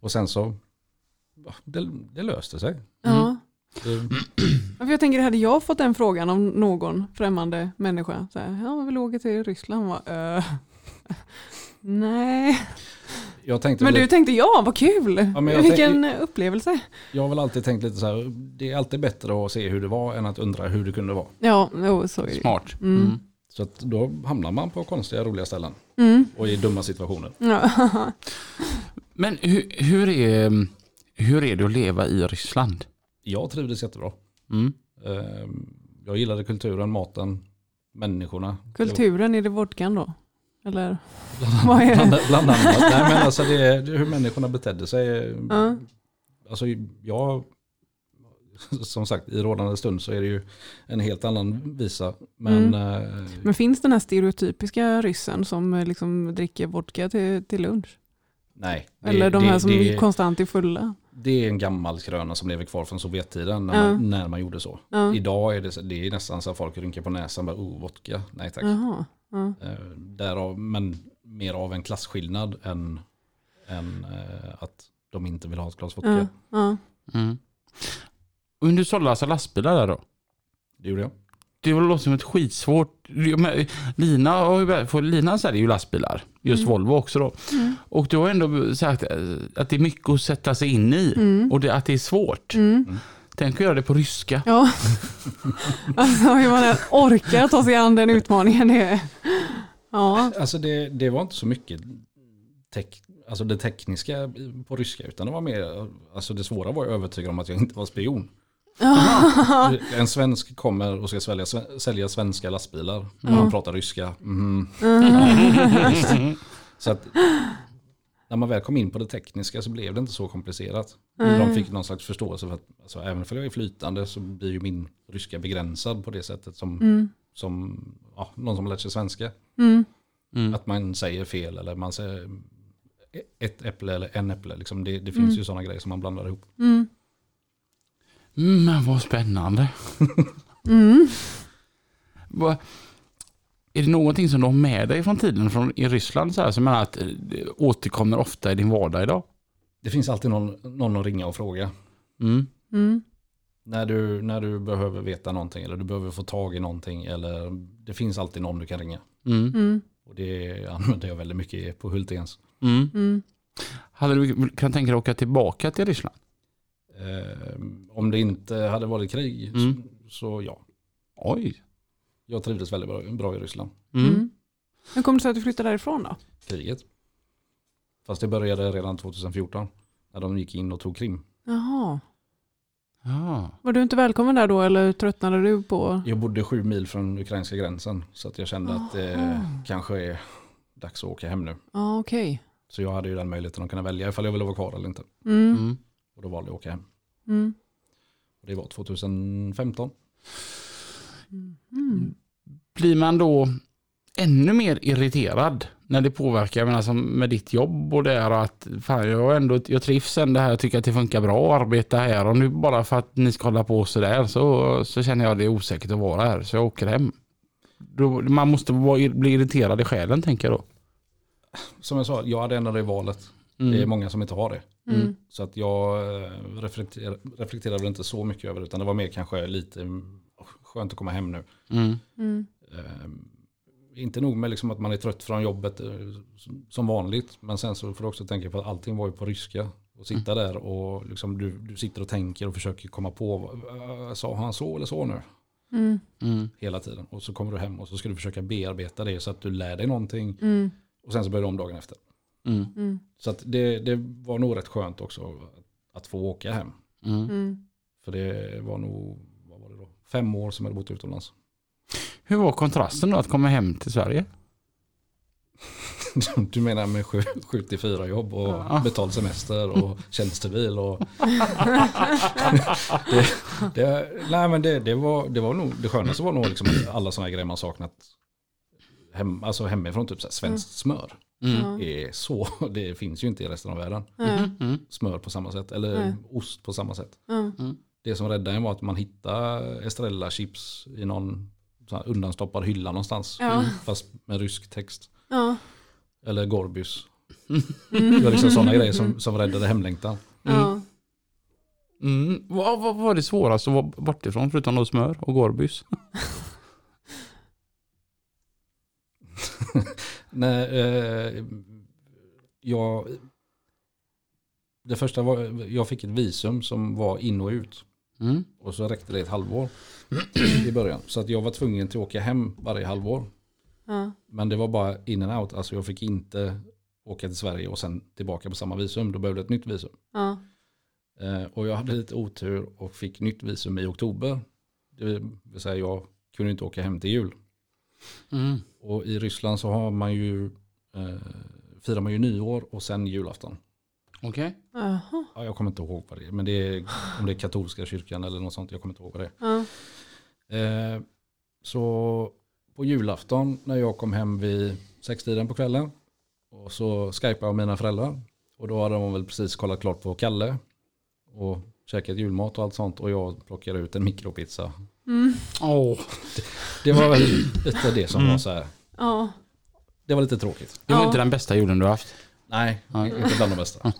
[SPEAKER 7] Och sen så, ja, det, det löste sig.
[SPEAKER 2] ja.
[SPEAKER 7] Det,
[SPEAKER 2] Ja, För jag tänker, hade jag fått den frågan av någon främmande människa, så här, ja, man vill åka till Ryssland, va? "Eh, *laughs* nej.
[SPEAKER 7] Jag tänkte
[SPEAKER 2] Men
[SPEAKER 7] väl-
[SPEAKER 2] du tänkte ja, vad kul!
[SPEAKER 7] Ja, men jag
[SPEAKER 2] Vilken upplevelse.
[SPEAKER 7] Jag har väl alltid tänkt lite så här, det är alltid bättre att se hur det var än att undra hur det kunde vara.
[SPEAKER 2] Ja, oh, jo, så är det ju.
[SPEAKER 1] Smart.
[SPEAKER 2] Mm.
[SPEAKER 7] Så att då hamnar man på konstiga, roliga ställen
[SPEAKER 2] Mm.
[SPEAKER 7] och i dumma situationer.
[SPEAKER 2] Ja. *laughs*
[SPEAKER 1] Men hur, hur, är, hur är det att leva i Ryssland?
[SPEAKER 7] Jag trivdes jättebra.
[SPEAKER 1] Mm.
[SPEAKER 7] Eh, Jag gillade kulturen, maten, människorna.
[SPEAKER 2] Kulturen, är det vodkan då? Eller vad är
[SPEAKER 7] Bland,
[SPEAKER 2] det?
[SPEAKER 7] bland annat. Nej, men alltså det, är- det är hur människorna betedde sig.
[SPEAKER 2] Ja.
[SPEAKER 7] Alltså jag, som sagt, i rådande stund så är det ju en helt annan visa.
[SPEAKER 2] Mm.
[SPEAKER 7] Men eh,
[SPEAKER 2] Men finns den här stereotypiska ryssen som eh, liksom dricker vodka till, till lunch?
[SPEAKER 7] nej. det-
[SPEAKER 2] Eller de
[SPEAKER 7] det-
[SPEAKER 2] här som
[SPEAKER 7] det-
[SPEAKER 2] konstant är fulla?
[SPEAKER 7] Det är en gammal kröna som lever kvar från Sovjettiden när,
[SPEAKER 2] Ja.
[SPEAKER 7] man, när man gjorde så.
[SPEAKER 2] Ja.
[SPEAKER 7] Idag är det, så- det är nästan så att folk rynkar på näsan bara oh, vodka, nej tack.
[SPEAKER 2] Jaha. Ja.
[SPEAKER 7] Eh, därav, men mer av en klasskillnad än, än eh, att de inte vill ha ett glas vodka.
[SPEAKER 2] Ja. Ja.
[SPEAKER 1] Mm. Men du sålde alltså lastbilar där då?
[SPEAKER 7] Det gjorde jag.
[SPEAKER 1] Det låter som ett skitsvårt... Men Lina, har ju- för Lina säljer ju lastbilar. Just Volvo också då. Och du har ändå sagt eh, att det är mycket att sätta sig in i. Och det, att det är svårt. Tänk att göra det på ryska.
[SPEAKER 2] ja. *laughs* alltså hur man än orkar ta sig an den utmaningen. Det är... Ja.
[SPEAKER 7] Alltså det, det var inte så mycket tek, alltså det tekniska på ryska utan det var mer, alltså det svåra var att övertyga om att jag inte var spion. en svensk kommer och ska svälja, sve- sälja svenska lastbilar. Han pratar ryska. Mhm. Ja, visst. *laughs* så att när man väl kom in på det tekniska så blev det inte så komplicerat. De fick någon slags förståelse för att alltså, även om jag är flytande så blir ju min ryska begränsad på det sättet som, som ja, någon som har lärt sig svenska. Att man säger fel eller man säger ett äpple eller en äpple. Liksom det, det finns ju sådana grejer som man blandar ihop.
[SPEAKER 1] Mm, Men
[SPEAKER 2] *laughs*
[SPEAKER 1] vad spännande.
[SPEAKER 2] Mm.
[SPEAKER 1] Vad- Är det någonting som du har med dig från tiden från, i Ryssland så här, som är att, eh, återkommer ofta i din vardag idag?
[SPEAKER 7] Det finns alltid någon, någon att ringa och fråga.
[SPEAKER 1] Mm.
[SPEAKER 2] Mm.
[SPEAKER 7] När du, när du behöver veta någonting eller du behöver få tag i någonting. Eller det finns alltid någon du kan ringa.
[SPEAKER 1] Mm.
[SPEAKER 2] Mm.
[SPEAKER 7] Och det använder jag väldigt mycket på Hultens.
[SPEAKER 1] Mm.
[SPEAKER 2] Mm.
[SPEAKER 1] Hade du kan tänka dig att åka tillbaka till Ryssland?
[SPEAKER 7] Eh, om det inte hade varit krig
[SPEAKER 1] Mm.
[SPEAKER 7] så, så ja.
[SPEAKER 1] Oj.
[SPEAKER 7] Jag trivdes väldigt bra, bra i Ryssland.
[SPEAKER 1] Mm.
[SPEAKER 2] Mm. Hur kom det sig att du flyttade därifrån då?
[SPEAKER 7] Kriget. Fast det började redan 2014. När de gick in och tog Krim.
[SPEAKER 2] Jaha.
[SPEAKER 1] Ja.
[SPEAKER 2] Var du inte välkommen där då eller tröttnade du på?
[SPEAKER 7] Jag bodde sju mil från ukrainska gränsen så att jag kände att det
[SPEAKER 2] Aha.
[SPEAKER 7] kanske är dags att åka hem nu.
[SPEAKER 2] Ja okej.
[SPEAKER 7] Så jag hade ju den möjligheten att kunna välja ifall jag ville vara kvar eller inte.
[SPEAKER 2] Mm.
[SPEAKER 1] Mm.
[SPEAKER 7] Och då valde jag att åka hem.
[SPEAKER 2] Mm.
[SPEAKER 7] Och det var 2015.
[SPEAKER 2] Mm.
[SPEAKER 1] Blir man då ännu mer irriterad när det påverkar, jag menar som med ditt jobb och det här att fan, jag, har ändå, jag trivs ändå här, jag tycker att det funkar bra att arbeta här och nu bara för att ni ska hålla på sådär så, så känner jag det är osäkert att vara här så jag åker hem. Då, man måste vara, bli irriterad i själen tänker jag då.
[SPEAKER 7] Som jag sa, jag hade ändå det valet.
[SPEAKER 1] Mm.
[SPEAKER 7] Det är många som inte har det.
[SPEAKER 2] Mm.
[SPEAKER 7] Så att jag eh, reflekter- reflekterade väl inte så mycket över det utan det var mer kanske lite mm, skönt att komma hem nu.
[SPEAKER 1] Mm.
[SPEAKER 2] Mm.
[SPEAKER 7] Eh, inte nog med liksom att man är trött från jobbet eh, som- som vanligt. Men sen så får du också tänka på att allting var ju på ryska. Och sitta där och liksom du, du sitter och tänker och försöker komma på. vad- eh, Sa han så eller så nu?
[SPEAKER 2] Mm.
[SPEAKER 1] Mm.
[SPEAKER 7] Hela tiden. Och så kommer du hem och så ska du försöka bearbeta det så att du lär dig någonting.
[SPEAKER 2] Mm.
[SPEAKER 7] Och sen så börjar du om dagen efter.
[SPEAKER 1] Mm.
[SPEAKER 2] Mm.
[SPEAKER 7] Så att det, det var nog rätt skönt också att få åka hem.
[SPEAKER 1] Mm.
[SPEAKER 2] Mm.
[SPEAKER 7] För det var nog, vad var det då? Fem år som jag hade bott utomlands.
[SPEAKER 1] Hur var kontrasten då att komma hem till Sverige?
[SPEAKER 7] *laughs* Du menar med 7 till 4 jobb och
[SPEAKER 1] Ja.
[SPEAKER 7] betald
[SPEAKER 2] *laughs*
[SPEAKER 7] semester och tjänstebil och... det, det, nej men det, det, var, det var nog, det skönaste var nog liksom alla sådana grejer man saknat. Hem, alltså hemifrån, typ så här, svenskt
[SPEAKER 2] Mm.
[SPEAKER 7] smör.
[SPEAKER 2] Ja.
[SPEAKER 7] Är så, *laughs* det finns ju inte i resten av världen.
[SPEAKER 2] Ja.
[SPEAKER 1] Mm.
[SPEAKER 7] Smör på samma sätt, eller
[SPEAKER 2] Nej.
[SPEAKER 7] ost på samma sätt.
[SPEAKER 2] Ja.
[SPEAKER 7] Det som räddade en var att man hittade Estrella chips i någon sån här undanstoppad hylla någonstans.
[SPEAKER 2] Ja.
[SPEAKER 7] Fast med rysk text.
[SPEAKER 2] Ja.
[SPEAKER 7] Eller Gorbys. Det var liksom sådana grejer som, som räddade hemlängtan. *laughs*
[SPEAKER 2] Ja.
[SPEAKER 1] Mm. Vad, vad var det svåraste att vara bortifrån förutom då smör och gorbys?
[SPEAKER 7] När, eh, jag Det första var, jag fick ett visum som var in och ut.
[SPEAKER 1] Mm.
[SPEAKER 7] Och så räckte det ett halvår i början. Så att jag var tvungen till att åka hem varje halvår.
[SPEAKER 2] Ja.
[SPEAKER 7] Men det var bara in and out. Alltså jag fick inte åka till Sverige och sen tillbaka på samma visum. Då behövde jag ett nytt visum.
[SPEAKER 2] Ja.
[SPEAKER 7] Eh, Och jag hade lite otur och fick nytt visum i oktober. Det vill säga jag kunde inte åka hem till jul.
[SPEAKER 1] Mm.
[SPEAKER 7] Och i Ryssland så har man ju, eh, firar man ju nyår och sen julafton.
[SPEAKER 1] Okej.
[SPEAKER 2] Mm. Jaha.
[SPEAKER 7] Ja, jag kommer inte ihåg vad det är, men det är om det är katolska kyrkan eller något sånt. Jag kommer inte ihåg vad det
[SPEAKER 2] Ja.
[SPEAKER 7] är. Eh, så på julafton när jag kom hem vid sextiden på kvällen och så skypade jag mina föräldrar. Och då hade de väl precis kollat klart på Kalle och käkat julmat och allt sånt och jag plockade ut en mikropizza.
[SPEAKER 1] Åh.
[SPEAKER 7] Det var väl lite det som var så här.
[SPEAKER 2] Ja.
[SPEAKER 7] Det var lite tråkigt.
[SPEAKER 1] Det var
[SPEAKER 2] Ja.
[SPEAKER 1] inte den bästa julen du har haft.
[SPEAKER 7] Nej, inte bland de bästa.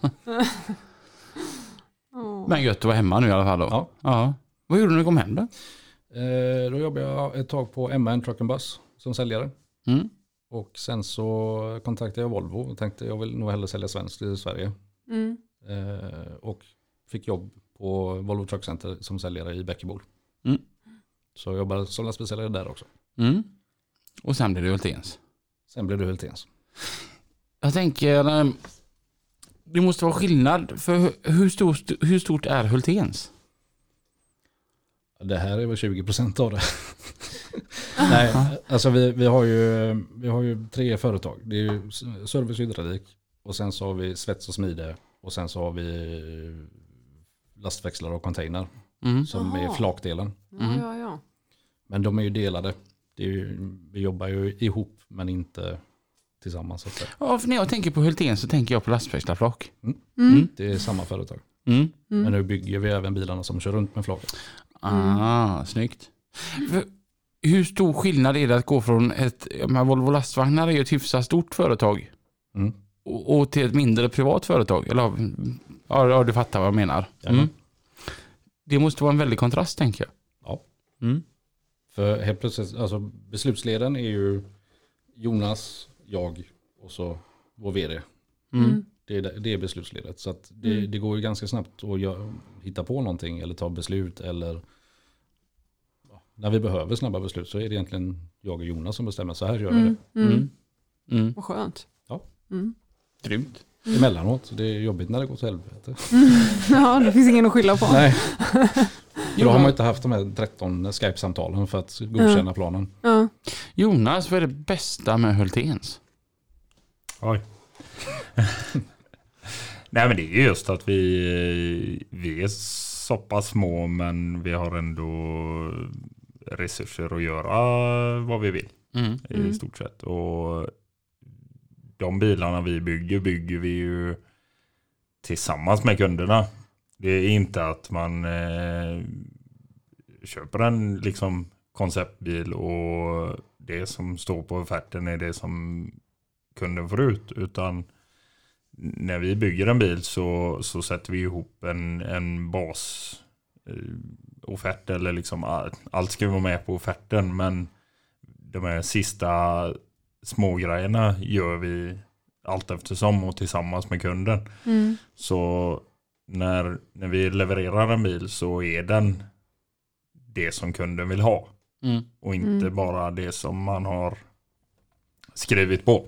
[SPEAKER 2] Åh.
[SPEAKER 1] Men gött att vara hemma nu i alla fall då.
[SPEAKER 7] Ja.
[SPEAKER 1] Vad gjorde du när du kom hem då?
[SPEAKER 7] Eh, Då jobbade jag ett tag på MN Truck and Bus som säljare.
[SPEAKER 1] Mm.
[SPEAKER 7] Och sen så kontaktade jag Volvo och tänkte jag vill nog hellre sälja svenskt i Sverige.
[SPEAKER 2] Mm.
[SPEAKER 7] Eh, och fick jobb på Volvo Truck Center som säljare i Bäckebol.
[SPEAKER 1] Mm.
[SPEAKER 7] Så jag jobbade som lastbilssäljare där också.
[SPEAKER 1] Mm. Och sen blev det Hulténs.
[SPEAKER 7] Sen blev det Hulténs.
[SPEAKER 1] Jag tänker, eh, det måste vara skillnad. För hu- hur stort, hur stort är Hulténs?
[SPEAKER 7] Det här är väl 20% av det. Nej, alltså vi, vi, har ju, vi har ju tre företag. Det är ju s- service och hydraulik och sen så har vi svets och smide och sen så har vi lastväxlar och container
[SPEAKER 1] Mm.
[SPEAKER 7] som är
[SPEAKER 2] Jaha.
[SPEAKER 7] flakdelen.
[SPEAKER 2] Ja, ja, ja.
[SPEAKER 7] Men de är ju delade. Det är ju, vi jobbar ju ihop men inte tillsammans. Så att säga.
[SPEAKER 1] Ja, för när jag tänker på Hulténs så tänker jag på lastväxlarflak.
[SPEAKER 2] Mm.
[SPEAKER 7] Det är samma företag.
[SPEAKER 1] Mm.
[SPEAKER 7] Men nu bygger vi även bilarna som kör runt med flaket.
[SPEAKER 1] Ah, snyggt. För Hur stor skillnad är det att gå från ett, jag menar, Volvo lastvagnar är ju ett hyfsat stort företag
[SPEAKER 7] Mm.
[SPEAKER 1] och, och till ett mindre privat företag? Eller, ja, ja, du fattar vad jag menar. Mm. Det måste vara en väldig kontrast tänker jag.
[SPEAKER 7] För helt plötsligt, alltså beslutsleden är ju Jonas, jag och så vår vd.
[SPEAKER 2] Mm.
[SPEAKER 7] Det är, det är beslutsledet. Så att det, det går ju ganska snabbt att gö- hitta på någonting eller ta beslut eller ja, när vi behöver snabba beslut så är det egentligen jag och Jonas som bestämmer. Så här gör vi
[SPEAKER 2] Mm. Mm.
[SPEAKER 1] Mm.
[SPEAKER 2] Vad skönt.
[SPEAKER 7] Ja.
[SPEAKER 2] Mm. *laughs*
[SPEAKER 1] Grymt.
[SPEAKER 7] det emellanåt. Det är jobbigt när det går till helvete.
[SPEAKER 2] Ja, det finns ingen att skylla på. *laughs*
[SPEAKER 7] Nej. Då har man ju inte haft de här 13 Skype-samtalen för att godkänna planen.
[SPEAKER 2] Ja.
[SPEAKER 1] Jonas, vad är det bästa med Hulténs?
[SPEAKER 8] Oj. *laughs* Nej men det är just att vi, vi är så pass små men vi har ändå resurser att göra vad vi vill
[SPEAKER 1] Mm.
[SPEAKER 8] i stort sett. Och de bilarna vi bygger bygger vi ju tillsammans med kunderna. Det är inte att man eh, köper en liksom konceptbil och det som står på offerten är det som kunden får ut. Utan när vi bygger en bil så, så sätter vi ihop en, en bas eh, offert eller liksom all- allt ska vara med på offerten men de här sista smågrejerna gör vi allt eftersom och tillsammans med kunden.
[SPEAKER 2] Mm.
[SPEAKER 8] Så när, när vi levererar en bil så är den det som kunden vill ha
[SPEAKER 1] Mm.
[SPEAKER 8] och inte
[SPEAKER 2] Mm.
[SPEAKER 8] bara det som man har skrivit på.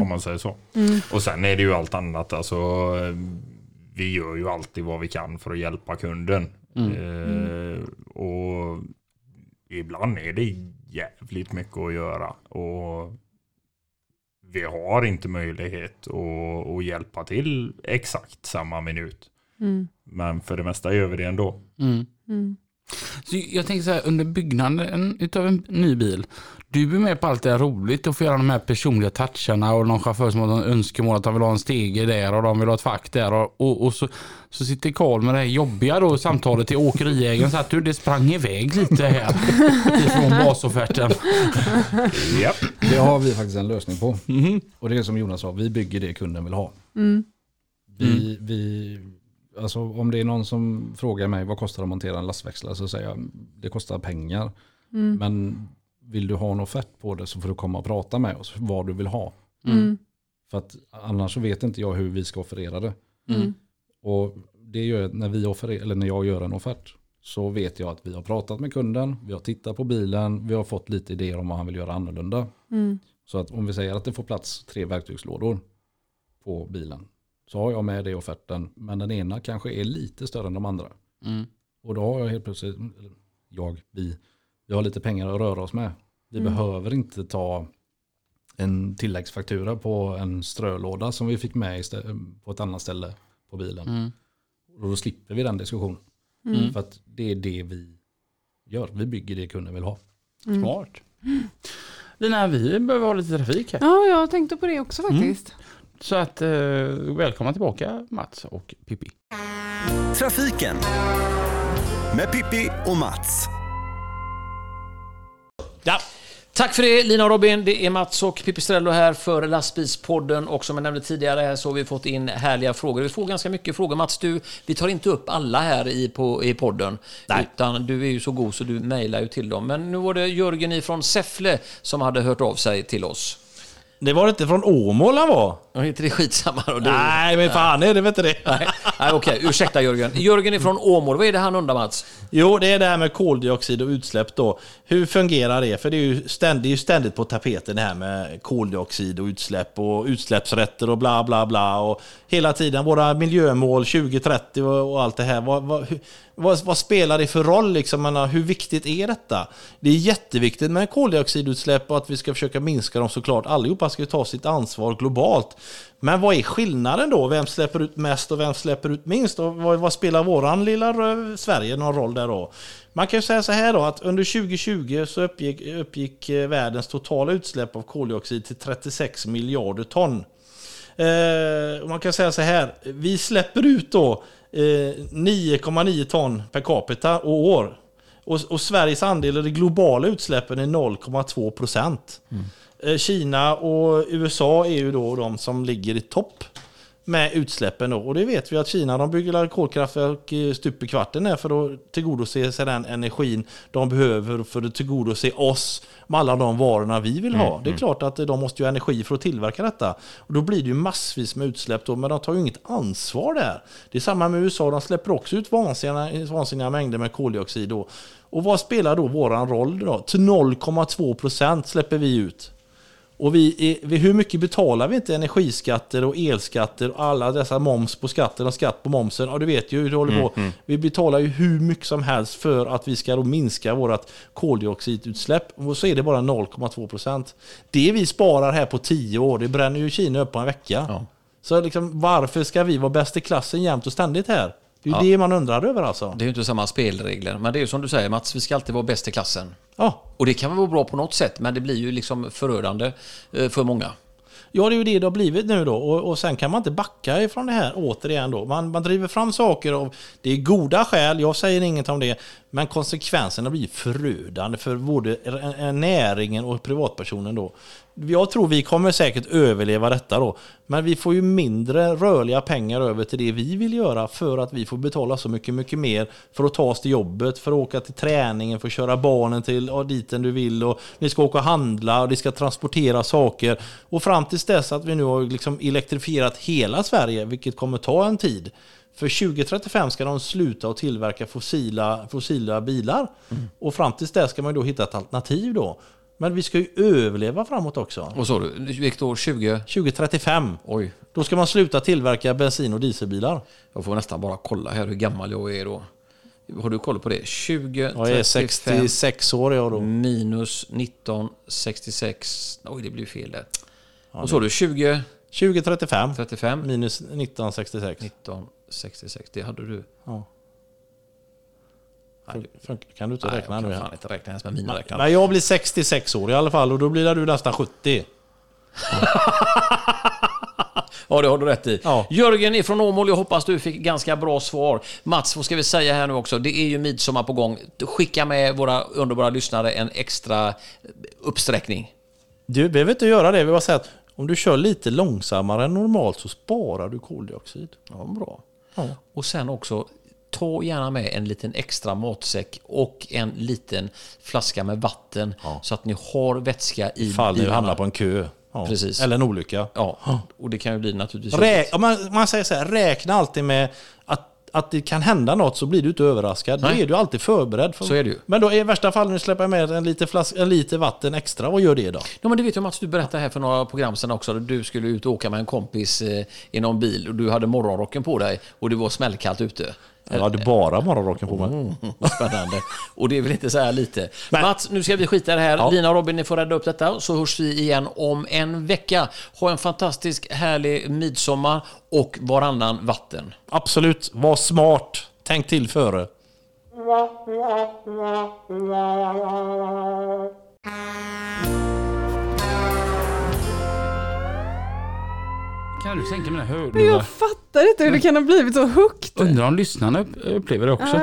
[SPEAKER 8] Om man säger så.
[SPEAKER 2] Mm.
[SPEAKER 8] Och sen är det ju allt annat. Alltså, eh, vi gör ju alltid vad vi kan för att hjälpa kunden.
[SPEAKER 1] Mm.
[SPEAKER 8] Eh, och ibland är det jävligt mycket att göra. Och vi har inte möjlighet att, att hjälpa till exakt samma minut.
[SPEAKER 2] Mm.
[SPEAKER 8] Men för det mesta gör vi det ändå.
[SPEAKER 1] Mm.
[SPEAKER 2] Mm.
[SPEAKER 1] Så jag tänker så här, under byggnaden utav en ny bil, du är med på allt det här roligt och får göra de här personliga toucherna och någon chaufför som har någon önskemål att de vill ha en stege där och de vill ha ett fack där och, och, och så, så sitter Karl med det här jobbiga då samtalet till åkeriägaren så att du det sprang iväg lite här ifrån basofferten.
[SPEAKER 8] Japp.
[SPEAKER 7] Det har vi faktiskt en lösning på. Och det är som Jonas sa, vi bygger det kunden vill ha. Vi, vi, alltså om det är någon som frågar mig vad kostar det att montera en lastväxlare så säger jag det kostar pengar. Men vill du ha en offert på det så får du komma och prata med oss vad du vill ha.
[SPEAKER 2] Mm.
[SPEAKER 7] För att annars så vet inte jag hur vi ska offerera det.
[SPEAKER 1] Mm.
[SPEAKER 7] Och det gör att när, vi offerer, eller när jag gör en offert så vet jag att vi har pratat med kunden, vi har tittat på bilen, vi har fått lite idéer om vad han vill göra annorlunda.
[SPEAKER 2] Mm.
[SPEAKER 7] Så att om vi säger att det får plats tre verktygslådor på bilen så har jag med det i offerten, men den ena kanske är lite större än de andra.
[SPEAKER 1] Mm.
[SPEAKER 7] Och då har jag helt plötsligt, eller jag, vi, vi har lite pengar att röra oss med. Vi
[SPEAKER 2] Mm.
[SPEAKER 7] behöver inte ta en tilläggsfaktura på en strölåda som vi fick med istä- på ett annat ställe på bilen.
[SPEAKER 1] Mm.
[SPEAKER 7] Och då slipper vi den diskussionen.
[SPEAKER 2] Mm.
[SPEAKER 7] För att det är det vi gör. Vi bygger det kunden vill ha.
[SPEAKER 2] Mm.
[SPEAKER 1] Smart. Lina, vi behöver ha lite trafik här.
[SPEAKER 2] Ja, jag tänkte på det
[SPEAKER 7] Mm.
[SPEAKER 2] också faktiskt.
[SPEAKER 1] Så att eh, välkomna tillbaka Mats och Pippi.
[SPEAKER 3] Trafiken med Pippi och Mats.
[SPEAKER 4] Ja. Tack för det Lina och Robin. Det är Mats och Pipistrello här för Lastbilspodden och som jag nämnde tidigare här så har vi fått in härliga frågor. Vi får ganska mycket frågor. Mats, du, vi tar inte upp alla här i, på, i podden. Utan du är ju så god så du mejlar ju till dem. Men nu var det Jörgen ifrån Säffle som hade hört av sig till oss.
[SPEAKER 5] Det var inte från Åmål han var?
[SPEAKER 4] Och inte det skitsamma då? Du.
[SPEAKER 5] Nej, men fan är det väl inte det?
[SPEAKER 4] Nej, nej, okej. Ursäkta Jörgen. Jörgen ifrån Åmål. Vad är det han undrar Mats?
[SPEAKER 5] Jo, det är det här med koldioxid och utsläpp då. Hur fungerar det? För det är ju ständigt, det är ju ständigt på tapeten det här med koldioxid och utsläpp och utsläppsrätter och bla bla bla. Och hela tiden våra miljömål 2030 och, och allt det här. Vad, vad, hur- vad, vad spelar det för roll? Liksom, Jag menar, hur viktigt är detta? Det är jätteviktigt med koldioxidutsläpp och att vi ska försöka minska dem såklart. Allihopa ska ju ta sitt ansvar globalt. Men vad är skillnaden då? Vem släpper ut mest och vem släpper ut minst? Och vad, vad spelar våran lilla eh, Sverige någon roll där då? Man kan ju säga så här då att under 2020 så uppgick, uppgick eh, världens totala utsläpp av koldioxid till 36 miljarder ton. Eh, och man kan säga så här, vi släpper ut då eh, 9,9 ton per capita och år. Och, och Sveriges andel i de globala utsläppen är 0,2 procent. Eh, Kina och USA är ju då de som ligger i topp med utsläppen. Då. Och det vet vi att Kina de bygger kolkraftverk eh, stup i kvarten här för att tillgodose sig den energin de behöver för att tillgodose oss med alla de varorna vi vill ha. Det är klart att eh, de måste ju ha energi för att tillverka detta. Och då blir det ju massvis med utsläpp då, men de tar ju inget ansvar där. Det är samma med USA, de släpper också ut vansinniga, vansinniga mängder med koldioxid. Då. Och vad spelar då våran roll då? Till 0,2 procent släpper vi ut. Och vi är, vi, hur mycket betalar vi inte energiskatter och elskatter och alla dessa moms på skatten och skatt på momsen? Ja, du vet ju hur det håller på. Vi betalar ju hur mycket som helst för att vi ska då minska vårt koldioxidutsläpp. Och så är det bara 0,2 procent. Det vi sparar här på 10 år, det bränner ju Kina upp på en vecka. Så liksom, varför ska vi vara bäst i klassen jämt och ständigt här? Det är ju det man undrar över alltså.
[SPEAKER 4] Det är ju inte samma spelregler. Men det är ju som du säger Mats, vi ska alltid vara bäst i klassen.
[SPEAKER 5] Ja.
[SPEAKER 4] Och det kan väl vara bra på något sätt, men det blir ju liksom förödande eh, för många.
[SPEAKER 5] Ja, det är ju det det har blivit nu då. Och, och sen kan man inte backa ifrån det här återigen då. Man, man driver fram saker av, det är goda skäl, jag säger inget om det, men konsekvenserna blir förödande för både r- r- näringen och privatpersonen då. Jag tror vi kommer säkert överleva detta då, men vi får ju mindre rörliga pengar över till det vi vill göra för att vi får betala så mycket, mycket mer för att ta oss till jobbet, för att åka till träningen, för att köra barnen till ja, dit du vill och vi ska åka och handla och vi ska transportera saker. Och fram tills dess att vi nu har liksom elektrifierat hela Sverige, vilket kommer ta en tid. För 2035 ska de sluta att tillverka fossila, fossila bilar. Och fram tills dess ska man ju då hitta ett alternativ då. Men vi ska ju överleva framåt också.
[SPEAKER 4] Vad sa du? Viktor, 20?
[SPEAKER 5] 2035,
[SPEAKER 4] Oj,
[SPEAKER 5] då ska man sluta tillverka bensin och dieselbilar.
[SPEAKER 4] jag får nästan bara kolla här hur gammal jag är då. Har du koll på det? 20,
[SPEAKER 5] Jag är
[SPEAKER 4] 35,
[SPEAKER 5] 66 år jag då.
[SPEAKER 4] minus 19, 66. Oj, det blev fel där. Och så har du 20,
[SPEAKER 5] 2035,
[SPEAKER 4] 35,
[SPEAKER 5] minus 1966.
[SPEAKER 4] 19, 66. Det hade du.
[SPEAKER 5] Ja.
[SPEAKER 4] Nej,
[SPEAKER 5] Funkar- Kan du inte
[SPEAKER 4] Nej,
[SPEAKER 5] räkna
[SPEAKER 4] jag
[SPEAKER 5] nu?
[SPEAKER 4] kan
[SPEAKER 5] här?
[SPEAKER 4] fan inte räkna ens med mina räknare.
[SPEAKER 5] Men jag blir 66 år i alla fall och då blir du nästan 70.
[SPEAKER 4] Ja, det har du rätt i.
[SPEAKER 5] Ja.
[SPEAKER 4] Jörgen ifrån Åmål, jag hoppas du fick ganska bra svar. Mats, vad ska vi säga här nu också? Det är ju midsommar på gång. Skicka med våra underbara lyssnare en extra uppsträckning.
[SPEAKER 5] Du behöver inte göra det. Vi bara säga att om du kör lite långsammare än normalt så sparar du koldioxid.
[SPEAKER 4] Ja, bra. Och sen också, ta gärna med en liten extra matsäck och en liten flaska med vatten så att ni har vätska i
[SPEAKER 5] Ifall du
[SPEAKER 4] bilarna.
[SPEAKER 5] hamnar på en kö. Ja.
[SPEAKER 4] Precis.
[SPEAKER 5] Eller en olycka.
[SPEAKER 4] Ja, och det kan ju bli naturligtvis...
[SPEAKER 5] Rä- ja, man, man säger så här, räkna alltid med att, att det kan hända något så blir du inte överraskad. Då
[SPEAKER 4] Nej.
[SPEAKER 5] är du alltid förberedd. För.
[SPEAKER 4] Så är det ju.
[SPEAKER 5] Men då i värsta fall när du släpper med en liter, flask, en liter vatten extra, vad gör det då?
[SPEAKER 4] Ja, men det vet jag Mats, du berättade här för några program sedan också. Du skulle ut och åka med en kompis eh, i någon bil och du hade morgonrocken på dig och det var smällkallt ute. Eh,
[SPEAKER 5] Jag hade bara morgonrocken på mig.
[SPEAKER 4] Mm. Spännande. Och det är väl inte så här lite.
[SPEAKER 5] Nej.
[SPEAKER 4] Mats, nu ska vi skita i det här. Lina och Robin, ni får rädda upp detta. Så hörs vi igen om en vecka. Ha en fantastisk, härlig midsommar och varannan vatten.
[SPEAKER 5] Absolut, var smart. Tänk till före.
[SPEAKER 7] Mm.
[SPEAKER 1] Kan du sänka mina hörlurar?
[SPEAKER 2] Jag fattar inte hur det kan ha blivit så högt.
[SPEAKER 1] Undrar om lyssnarna upp- upplever det också.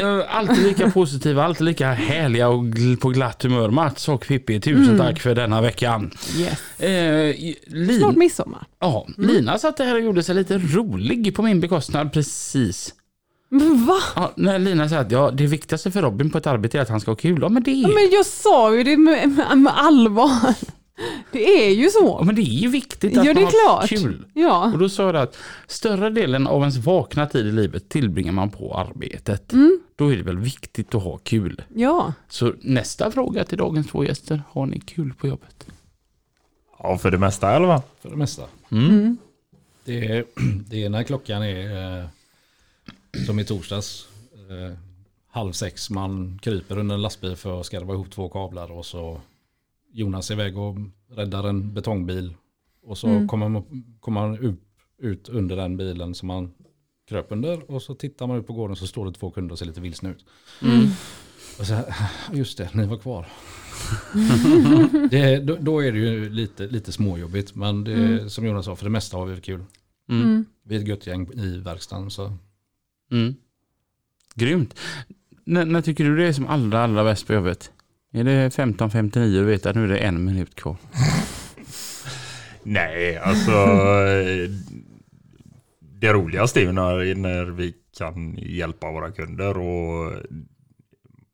[SPEAKER 1] Eh, Alltid lika positiva, alltid lika härliga och gl- på glatt humör. Mats och Pippi, tusen
[SPEAKER 2] Mm.
[SPEAKER 1] tack för denna veckan.
[SPEAKER 2] Yes.
[SPEAKER 1] Eh, Lin-
[SPEAKER 2] Snart Mm. midsommar.
[SPEAKER 1] ja, Lina satt här och gjorde sig lite rolig på min bekostnad precis.
[SPEAKER 2] Men va?
[SPEAKER 1] Ja, när Lina sa att ja, det viktigaste för Robin på ett arbete är att han ska ha kul. Ja men det är,
[SPEAKER 2] Ja, Men jag sa ju det med, med, med allvar. Det är ju
[SPEAKER 1] ja,
[SPEAKER 2] så.
[SPEAKER 1] men det är ju viktigt att
[SPEAKER 2] Ja, det
[SPEAKER 1] man
[SPEAKER 2] är
[SPEAKER 1] har
[SPEAKER 2] klart.
[SPEAKER 1] kul.
[SPEAKER 2] Ja.
[SPEAKER 1] Och då sa du att större delen av ens vakna tid i livet tillbringar man på arbetet. Då är det väl viktigt att ha kul.
[SPEAKER 2] ja.
[SPEAKER 1] Så nästa fråga till dagens två gäster. Har ni kul på jobbet?
[SPEAKER 8] Ja, för det mesta eller vad?
[SPEAKER 7] För det mesta. Det, är, *clears throat* det är när klockan är eh, som i torsdags. Eh, halv sex, man kryper under en lastbil för att skarva ihop två kablar och så Jonas är iväg och räddar en betongbil. Och så kommer man, kommer man upp, ut under den bilen som man kröp under och så tittar man ut på gården så står det två kunder och ser lite vilsna ut. Och så, *laughs* just det, ni var kvar. *laughs* Det, då, då är det ju lite, lite småjobbigt. Men det, som Jonas sa, för det mesta har vi kul.
[SPEAKER 2] Mm.
[SPEAKER 7] Vi är ett gött gäng i verkstaden. Så.
[SPEAKER 1] Mm. Grymt. N- när tycker du det är som allra, allra bäst på jobbet? Är det 15.59 och du vet att nu är det en minut kvar?
[SPEAKER 8] Nej, alltså... eh, det roligaste är ju när, när vi kan hjälpa våra kunder och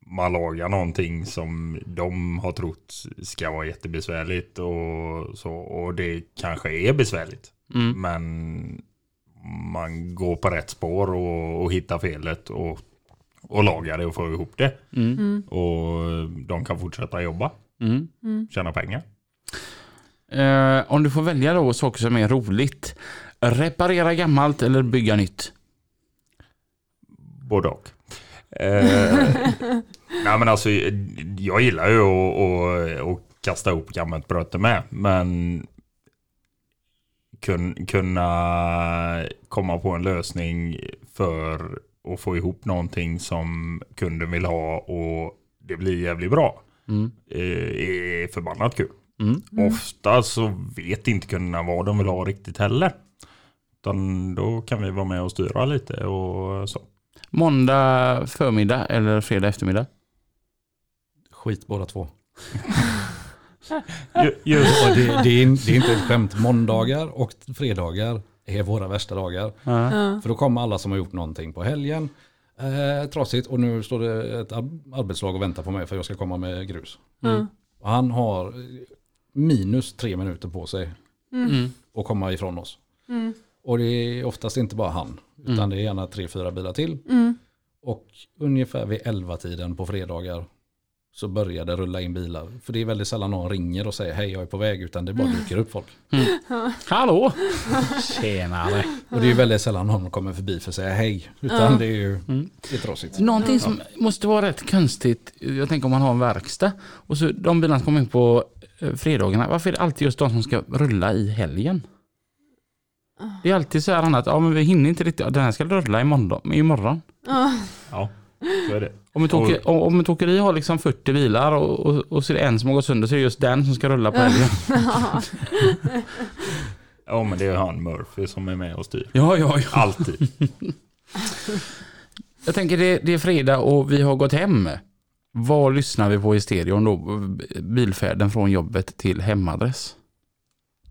[SPEAKER 8] man lagar någonting som de har trott ska vara jättebesvärligt och så. Och det kanske är besvärligt.
[SPEAKER 1] Mm.
[SPEAKER 8] Men man går på rätt spår och, och hittar felet och, och lagar det och får ihop det.
[SPEAKER 1] Mm.
[SPEAKER 8] Och de kan fortsätta jobba,
[SPEAKER 1] Mm.
[SPEAKER 8] tjäna pengar.
[SPEAKER 1] Eh, om du får välja då saker som är roligt. Reparera gammalt eller bygga nytt?
[SPEAKER 8] Både och. Eh, nej men alltså, jag gillar ju att, att, att kasta ihop gammalt bröte med. Men kun, kunna komma på en lösning för att få ihop någonting som kunden vill ha och det blir jävligt bra.
[SPEAKER 1] Mm.
[SPEAKER 8] eh, är förbannat kul.
[SPEAKER 1] Mm.
[SPEAKER 8] Ofta så vet inte kunderna vad de vill ha riktigt heller. Utan då kan vi vara med och styra lite och så.
[SPEAKER 1] Måndag förmiddag eller fredag eftermiddag?
[SPEAKER 7] Skit båda två.
[SPEAKER 8] Ju- Just,
[SPEAKER 7] Och det, det, är, det är inte ett skämt. Måndagar och fredagar är våra värsta dagar. För då kommer alla som har gjort någonting på helgen. Eh, trasigt och nu står det ett ar- arbetslag och väntar på mig för jag ska komma med grus. Och han har eh, minus tre minuter på sig
[SPEAKER 1] Mm.
[SPEAKER 7] att komma ifrån oss. Och det är oftast inte bara han, utan det är gärna tre, fyra bilar till. Och ungefär vid elva tiden på fredagar så börjar det rulla in bilar. För det är väldigt sällan någon ringer och säger hej jag är på väg utan det bara dyker upp folk.
[SPEAKER 1] Hallå! Tjenare!
[SPEAKER 7] Och det är ju väldigt sällan någon kommer förbi för att säga hej. Utan det är ju det är trasigt.
[SPEAKER 1] Någonting som måste vara rätt konstigt, jag tänker om man har en verkstad och så de bilarna som kommer in på eh, fredagarna, varför är det alltid just de som ska rulla i helgen? Det är alltid så här annat, ja men vi hinner inte riktigt, Ja, den här ska rulla imorgon. imorgon.
[SPEAKER 8] ja, så är det.
[SPEAKER 1] Om ett, åker, om om ett åkeri har liksom 40 bilar och, och, och så är det en som har gått sönder så är det just den som ska rulla på helgen.
[SPEAKER 8] Ja men det är han Murphy som är med och styr.
[SPEAKER 1] *laughs* Ja, ja, ja.
[SPEAKER 8] Alltid.
[SPEAKER 1] Jag tänker det, det är fredag och vi har gått hem. Vad lyssnar vi på i stereon då? Bilfärden från jobbet till hemadress.
[SPEAKER 8] *laughs*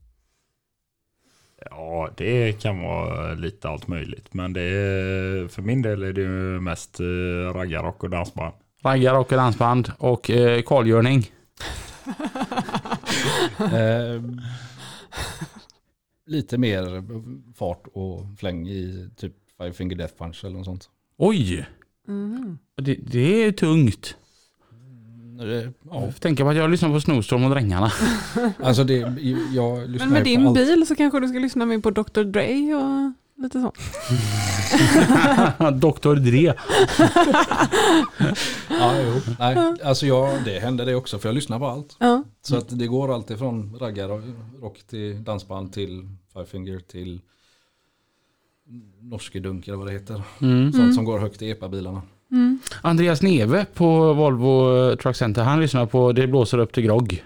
[SPEAKER 8] Ja det kan vara lite allt möjligt. Men det är, för min del är det ju mest eh, raggarrock och dansband.
[SPEAKER 1] Raggar och dansband och eh, kalgörning.
[SPEAKER 7] Eh, lite mer fart och fläng i typ Five Finger Death Punch eller något sånt.
[SPEAKER 1] Oj!
[SPEAKER 7] Mm.
[SPEAKER 2] Mhm.
[SPEAKER 1] Det, det är tungt.
[SPEAKER 7] Eh, Ja,
[SPEAKER 1] Jag tänker på att jag lyssnar på Snowstorm och Drängarna. *laughs*
[SPEAKER 7] alltså det, jag lyssnar
[SPEAKER 2] Men med
[SPEAKER 7] ju på
[SPEAKER 2] din
[SPEAKER 7] allt.
[SPEAKER 2] bil så kanske du ska lyssna mer på Dr Dre och lite sånt.
[SPEAKER 1] Dr. Dre.
[SPEAKER 7] Ja, jo. Nej, alltså jag, det hände det också för jag lyssnar på allt.
[SPEAKER 2] Ja.
[SPEAKER 7] Så att det går alltid från raggarrock till dansband till Five Finger till norskedunk eller vad det heter.
[SPEAKER 1] Mm.
[SPEAKER 7] Sånt som går högt i epabilarna.
[SPEAKER 2] Mm.
[SPEAKER 1] Andreas Neve på Volvo eh, Truck Center, han lyssnar på Det blåser upp till grogg.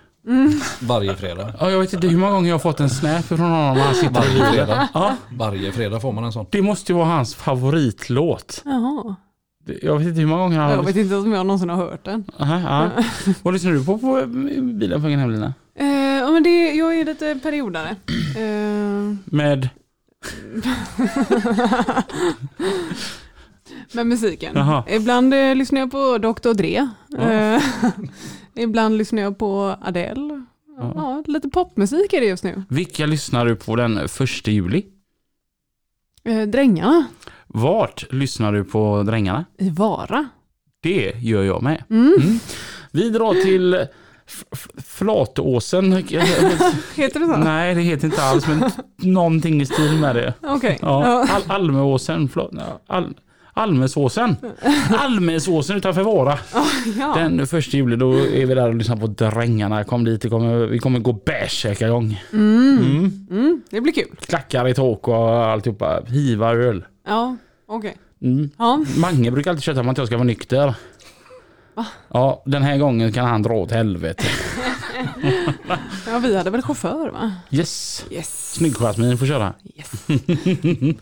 [SPEAKER 7] Varje fredag.
[SPEAKER 1] Ja, jag vet inte hur många gånger jag har fått en snap från honom när han sitter
[SPEAKER 7] Varje fredag.
[SPEAKER 1] Ja,
[SPEAKER 7] Varje fredag får man en sån.
[SPEAKER 1] det måste ju vara hans favoritlåt.
[SPEAKER 2] Jaha.
[SPEAKER 1] Det- Jag vet inte hur många gånger han
[SPEAKER 2] Jag
[SPEAKER 1] har...
[SPEAKER 2] vet inte om jag någonsin har hört den.
[SPEAKER 1] Aha,
[SPEAKER 2] *laughs*
[SPEAKER 1] ja. Vad lyssnar du på på eh, bilen på egen hem, Lina?
[SPEAKER 2] Eh, ja, men det, jag är lite periodare. Eh, *laughs*
[SPEAKER 1] Med?
[SPEAKER 2] med musiken.
[SPEAKER 1] Jaha.
[SPEAKER 2] Ibland eh, lyssnar jag på Dr Dre. Eh, *laughs* ibland lyssnar jag på Adele. Ja. lite popmusik är det just nu.
[SPEAKER 1] Vilka lyssnar du på den första juli?
[SPEAKER 2] Eh, drängarna
[SPEAKER 1] Vart lyssnar du på Drängarna?
[SPEAKER 2] i Vara.
[SPEAKER 1] Det gör jag med. Mm. Vi drar till F- F- Flatåsen.
[SPEAKER 2] Heter det så?
[SPEAKER 1] Nej, det heter inte alls, men någonting i stil med det.
[SPEAKER 2] Okej.
[SPEAKER 1] Ja.
[SPEAKER 2] Ja.
[SPEAKER 1] Al Almeåsen. förlåt. Ja, Al Almesåsen. Almesåsen utanför Vara.
[SPEAKER 2] Ja.
[SPEAKER 1] Den första juli då är vi där och lyssnar på Drängarna. Kom dit, det kommer, vi kommer gå bärsärkagång.
[SPEAKER 2] Mm, det blir kul.
[SPEAKER 1] Klackar i tak och alltihopa. Hiva öl.
[SPEAKER 2] Ja, okej.
[SPEAKER 1] Mm.
[SPEAKER 2] Ja.
[SPEAKER 1] Mange brukar alltid tjata om att jag ska vara nykter. Ja, den här gången kan han dra åt helvete.
[SPEAKER 2] ja, vi hade väl chaufför va?
[SPEAKER 1] Yes.
[SPEAKER 2] Yes.
[SPEAKER 1] Snygg Jasmin får köra.
[SPEAKER 2] yes.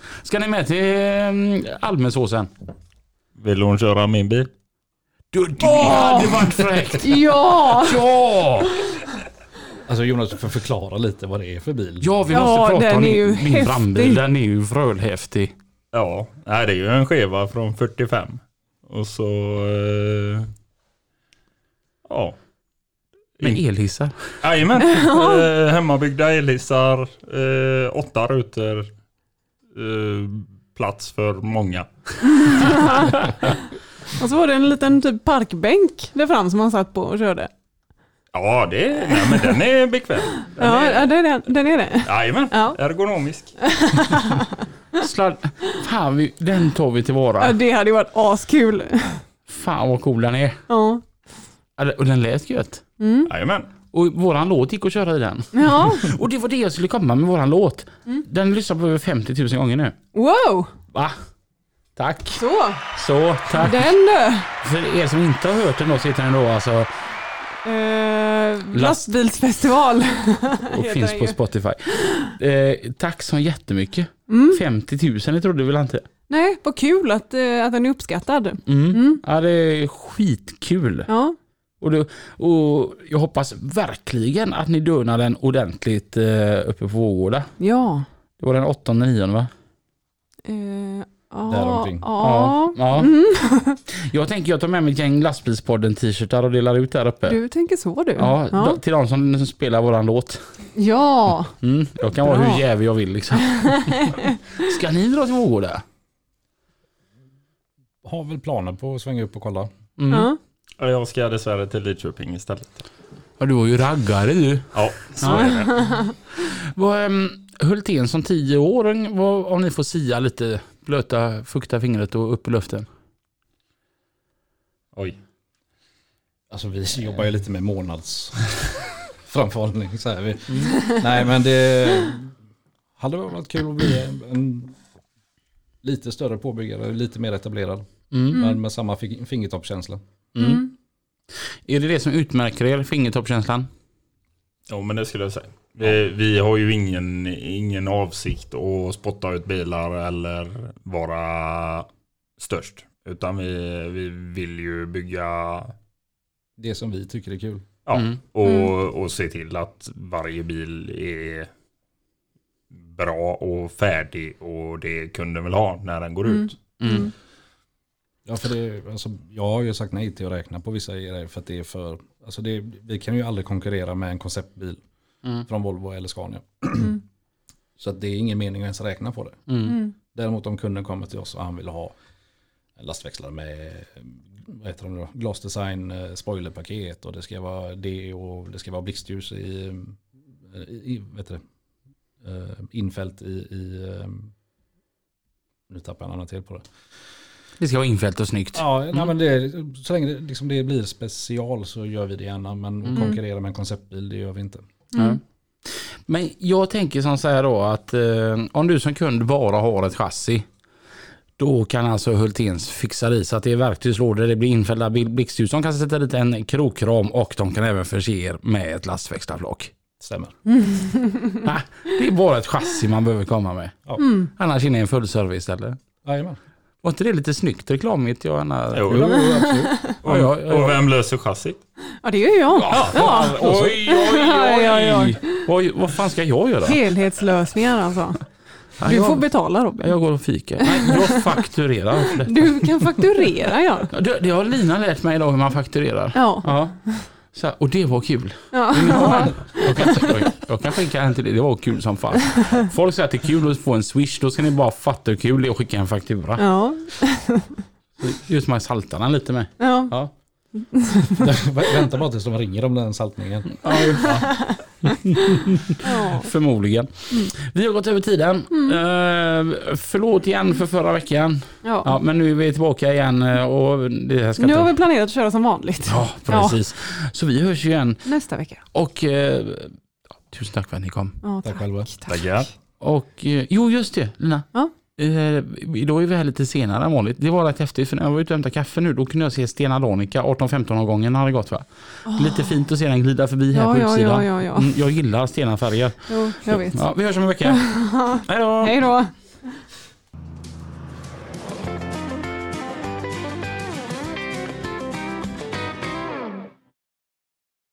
[SPEAKER 2] *laughs*
[SPEAKER 1] Ska ni med till ehm, Almesåsen?
[SPEAKER 8] Vill hon köra min bil?
[SPEAKER 1] Du, det hade varit fräckt!
[SPEAKER 2] Ja!
[SPEAKER 1] Ja!
[SPEAKER 7] Alltså Jonas, du får förklara lite vad det är för bil.
[SPEAKER 1] Ja, vi
[SPEAKER 2] Ja,
[SPEAKER 1] måste prata
[SPEAKER 2] den
[SPEAKER 1] om
[SPEAKER 2] är ju
[SPEAKER 1] min, min
[SPEAKER 2] häftig.
[SPEAKER 1] brandbil. Den är ju frölhäftig.
[SPEAKER 8] Ja, nej, det är ju en skeva från 45. Och så... Eh, ja.
[SPEAKER 1] Med
[SPEAKER 8] In-
[SPEAKER 1] elhissar.
[SPEAKER 8] *laughs* Jajamän. eh, hemmabyggda elhissar, eh, åtta rutor, eh, plats för många.
[SPEAKER 2] Och så var det en liten typ parkbänk där fram som han satt på och körde.
[SPEAKER 8] Ja, det, nej, men den är bekväm. Den
[SPEAKER 2] Ja,
[SPEAKER 8] är,
[SPEAKER 2] ja den, är, den är det.
[SPEAKER 8] jajamän,
[SPEAKER 2] Ja.
[SPEAKER 8] ergonomisk.
[SPEAKER 1] Sladd. Fan, vi, den tar vi
[SPEAKER 2] Ja,
[SPEAKER 1] tillvara.
[SPEAKER 2] det hade ju varit askul.
[SPEAKER 1] Fan vad cool den är.
[SPEAKER 2] Ja.
[SPEAKER 1] Ja, det- Och den lät gött.
[SPEAKER 2] Mm.
[SPEAKER 8] Jajamän.
[SPEAKER 1] Och våran låt gick att köra i den.
[SPEAKER 2] ja,
[SPEAKER 1] Och det var det jag skulle komma med våran låt.
[SPEAKER 2] Mm.
[SPEAKER 1] Den lyssnar på över 50 000 gånger nu.
[SPEAKER 2] wow!
[SPEAKER 1] Va? Tack.
[SPEAKER 2] Så,
[SPEAKER 1] Så, tack.
[SPEAKER 2] den du.
[SPEAKER 1] För er som inte har hört den då så heter den då alltså
[SPEAKER 2] Eh, lastbilsfestival.
[SPEAKER 1] och
[SPEAKER 2] Heter
[SPEAKER 1] finns
[SPEAKER 2] den
[SPEAKER 1] på
[SPEAKER 2] ju.
[SPEAKER 1] Spotify. Eh, tack så jättemycket.
[SPEAKER 2] Mm.
[SPEAKER 1] 50 000 det trodde väl inte?
[SPEAKER 2] Nej, vad kul att, eh, att den är uppskattad.
[SPEAKER 1] Mm. Ja, det är skitkul.
[SPEAKER 2] Ja,
[SPEAKER 1] Och, det, och jag hoppas verkligen att ni dönar den ordentligt eh, uppe på Vårgårda.
[SPEAKER 2] ja.
[SPEAKER 1] Det var den 8 9 va?
[SPEAKER 2] Eh, ah. ja,
[SPEAKER 7] Däromkring.
[SPEAKER 2] ja. Mm.
[SPEAKER 1] ja. *laughs* Jag tänker jag tar med mig ett gäng lastbilspodden-t-shirtar och delar ut där uppe.
[SPEAKER 2] Du tänker så du.
[SPEAKER 1] Ja,
[SPEAKER 2] ja.
[SPEAKER 1] d- till de som, som spelar våran låt.
[SPEAKER 2] ja.
[SPEAKER 1] Mm, jag kan vara
[SPEAKER 2] Bra.
[SPEAKER 1] hur jävig jag vill liksom.
[SPEAKER 2] *laughs*
[SPEAKER 1] Ska ni dra till Vårgårda?
[SPEAKER 7] Har väl planer på att svänga upp och kolla.
[SPEAKER 1] Mm.
[SPEAKER 2] ja.
[SPEAKER 8] Ja, Jag ska dessvärre till Lidköping istället.
[SPEAKER 1] Ja, du var ju raggare du.
[SPEAKER 8] Ja, så är det.
[SPEAKER 1] Vad, um, Hultén som tio år, ung- vad, om ni får sia lite, blöta, fukta fingret och upp i luften.
[SPEAKER 8] Oj.
[SPEAKER 7] Alltså vi jobbar ju lite med månads *laughs* framförhållning. Så här. Vi, Nej men det hade väl varit kul att bli en lite större påbyggare, lite mer etablerad.
[SPEAKER 1] Mm.
[SPEAKER 7] Men med samma fi- fingertoppskänsla.
[SPEAKER 1] Mm. Är det det som utmärker er, fingertoppkänslan?
[SPEAKER 8] Ja, men det skulle jag säga. Vi, vi har ju ingen, ingen avsikt att spotta ut bilar eller vara störst. Utan vi, vi vill ju bygga
[SPEAKER 7] Det som vi tycker är kul.
[SPEAKER 8] ja,
[SPEAKER 1] Mm.
[SPEAKER 8] och,
[SPEAKER 2] Mm.
[SPEAKER 8] och se till att varje bil är bra och färdig och det kunden vill ha när den går
[SPEAKER 2] Mm.
[SPEAKER 8] ut.
[SPEAKER 1] Mm.
[SPEAKER 2] Mm.
[SPEAKER 7] Ja, för det, alltså, jag har ju sagt nej till att räkna på vissa grejer för att det är för... Alltså det, vi kan ju aldrig konkurrera med en konceptbil från Volvo eller Scania. Så att det är ingen mening att ens räkna på det. Däremot om kunden kommer till oss och han vill ha en lastväxlare med vad heter de då? glasdesign, eh, spoilerpaket och det ska vara det och det ska vara blixtljus i, eh, i vad heter det? Eh, infällt i, i eh, nu tappar jag en annan till på det.
[SPEAKER 1] Det ska vara infällt och snyggt.
[SPEAKER 7] Ja, nej, men det, så länge det, liksom det blir special så gör vi det gärna. Men att konkurrera med en konceptbil, det gör vi inte.
[SPEAKER 1] Ja. Men jag tänker som så här då att eh, om du som kund bara har ett chassi då kan alltså Hultens fixa det i så att det är verktygslådor, det blir infällda bil- blixtljus. De kan sätta dit en krokram och de kan även förse er med ett
[SPEAKER 7] *laughs*
[SPEAKER 1] lastväxlarflak.
[SPEAKER 7] Stämmer.
[SPEAKER 1] Nej, Det är bara ett chassi man behöver komma med.
[SPEAKER 7] Ja.
[SPEAKER 1] Annars är det en full service eller?
[SPEAKER 7] Jajamän.
[SPEAKER 1] Var inte det lite snyggt reklamigt? Jag Anna?
[SPEAKER 8] Jo,
[SPEAKER 7] Jo, jo, absolut. *laughs*
[SPEAKER 8] Och,
[SPEAKER 1] ja, ja.
[SPEAKER 8] och vem löser chassit?
[SPEAKER 2] Ja, det gör jag. Ja.
[SPEAKER 1] Oj,
[SPEAKER 2] *laughs*
[SPEAKER 1] oj, oj, oj. oj. Vad fan ska jag göra?
[SPEAKER 2] Helhetslösningar alltså.
[SPEAKER 1] Ja,
[SPEAKER 2] Du
[SPEAKER 1] jag-
[SPEAKER 2] får betala
[SPEAKER 1] Ja,
[SPEAKER 2] Robin.
[SPEAKER 1] Jag går och fikar. Nej, jag fakturerar. för
[SPEAKER 2] *laughs*
[SPEAKER 1] detta.
[SPEAKER 2] Du kan fakturera ja.
[SPEAKER 1] Det, det har Lina lärt mig idag hur man fakturerar.
[SPEAKER 2] Ja,
[SPEAKER 1] Ja. Så här, och det var kul.
[SPEAKER 2] ja. *laughs*
[SPEAKER 1] Jag kan, jag, jag kan skicka en till dig. Det var kul som fan. Folk säger att det är kul att få en swish. Då ska ni bara fatta hur kul det är att skicka en faktura.
[SPEAKER 2] ja.
[SPEAKER 1] Just man saltar den lite med.
[SPEAKER 2] ja.
[SPEAKER 1] Ja.
[SPEAKER 7] Vä- Vänta bara tills de ringer om den saltningen.
[SPEAKER 2] ja.
[SPEAKER 1] Förmodligen. Vi har gått över tiden.
[SPEAKER 2] Mm.
[SPEAKER 1] Eh, förlåt igen för förra veckan. Ja,
[SPEAKER 2] ja.
[SPEAKER 1] men nu är vi tillbaka igen eh, och det här ska
[SPEAKER 2] Nu har
[SPEAKER 1] ta-
[SPEAKER 2] vi planerat att köra som vanligt
[SPEAKER 1] Ja, precis. Så vi hörs ju igen
[SPEAKER 2] nästa vecka.
[SPEAKER 1] och eh, ja, tusen tack för att ni kom.
[SPEAKER 2] Ja,
[SPEAKER 7] Tack själva.
[SPEAKER 8] Tackar.
[SPEAKER 1] Och eh, jo, just det Lina.
[SPEAKER 2] Ja.
[SPEAKER 1] Eh, då är vi här lite senare än vanligt. Det var rätt häftigt för när jag var ute och hämtade kaffe nu då kunde jag se Stena Danica 18-15 gången hade gått va? Lite fint att se den glida förbi här
[SPEAKER 2] Ah. Ja,
[SPEAKER 1] på
[SPEAKER 2] ja,
[SPEAKER 1] utsidan.
[SPEAKER 2] ja, ja, ja.
[SPEAKER 1] Mm, Jag gillar Stena färger.
[SPEAKER 2] Jo, jag vet. *laughs*
[SPEAKER 1] Ja, vi hörs om en vecka. Hej då!
[SPEAKER 2] Hej då.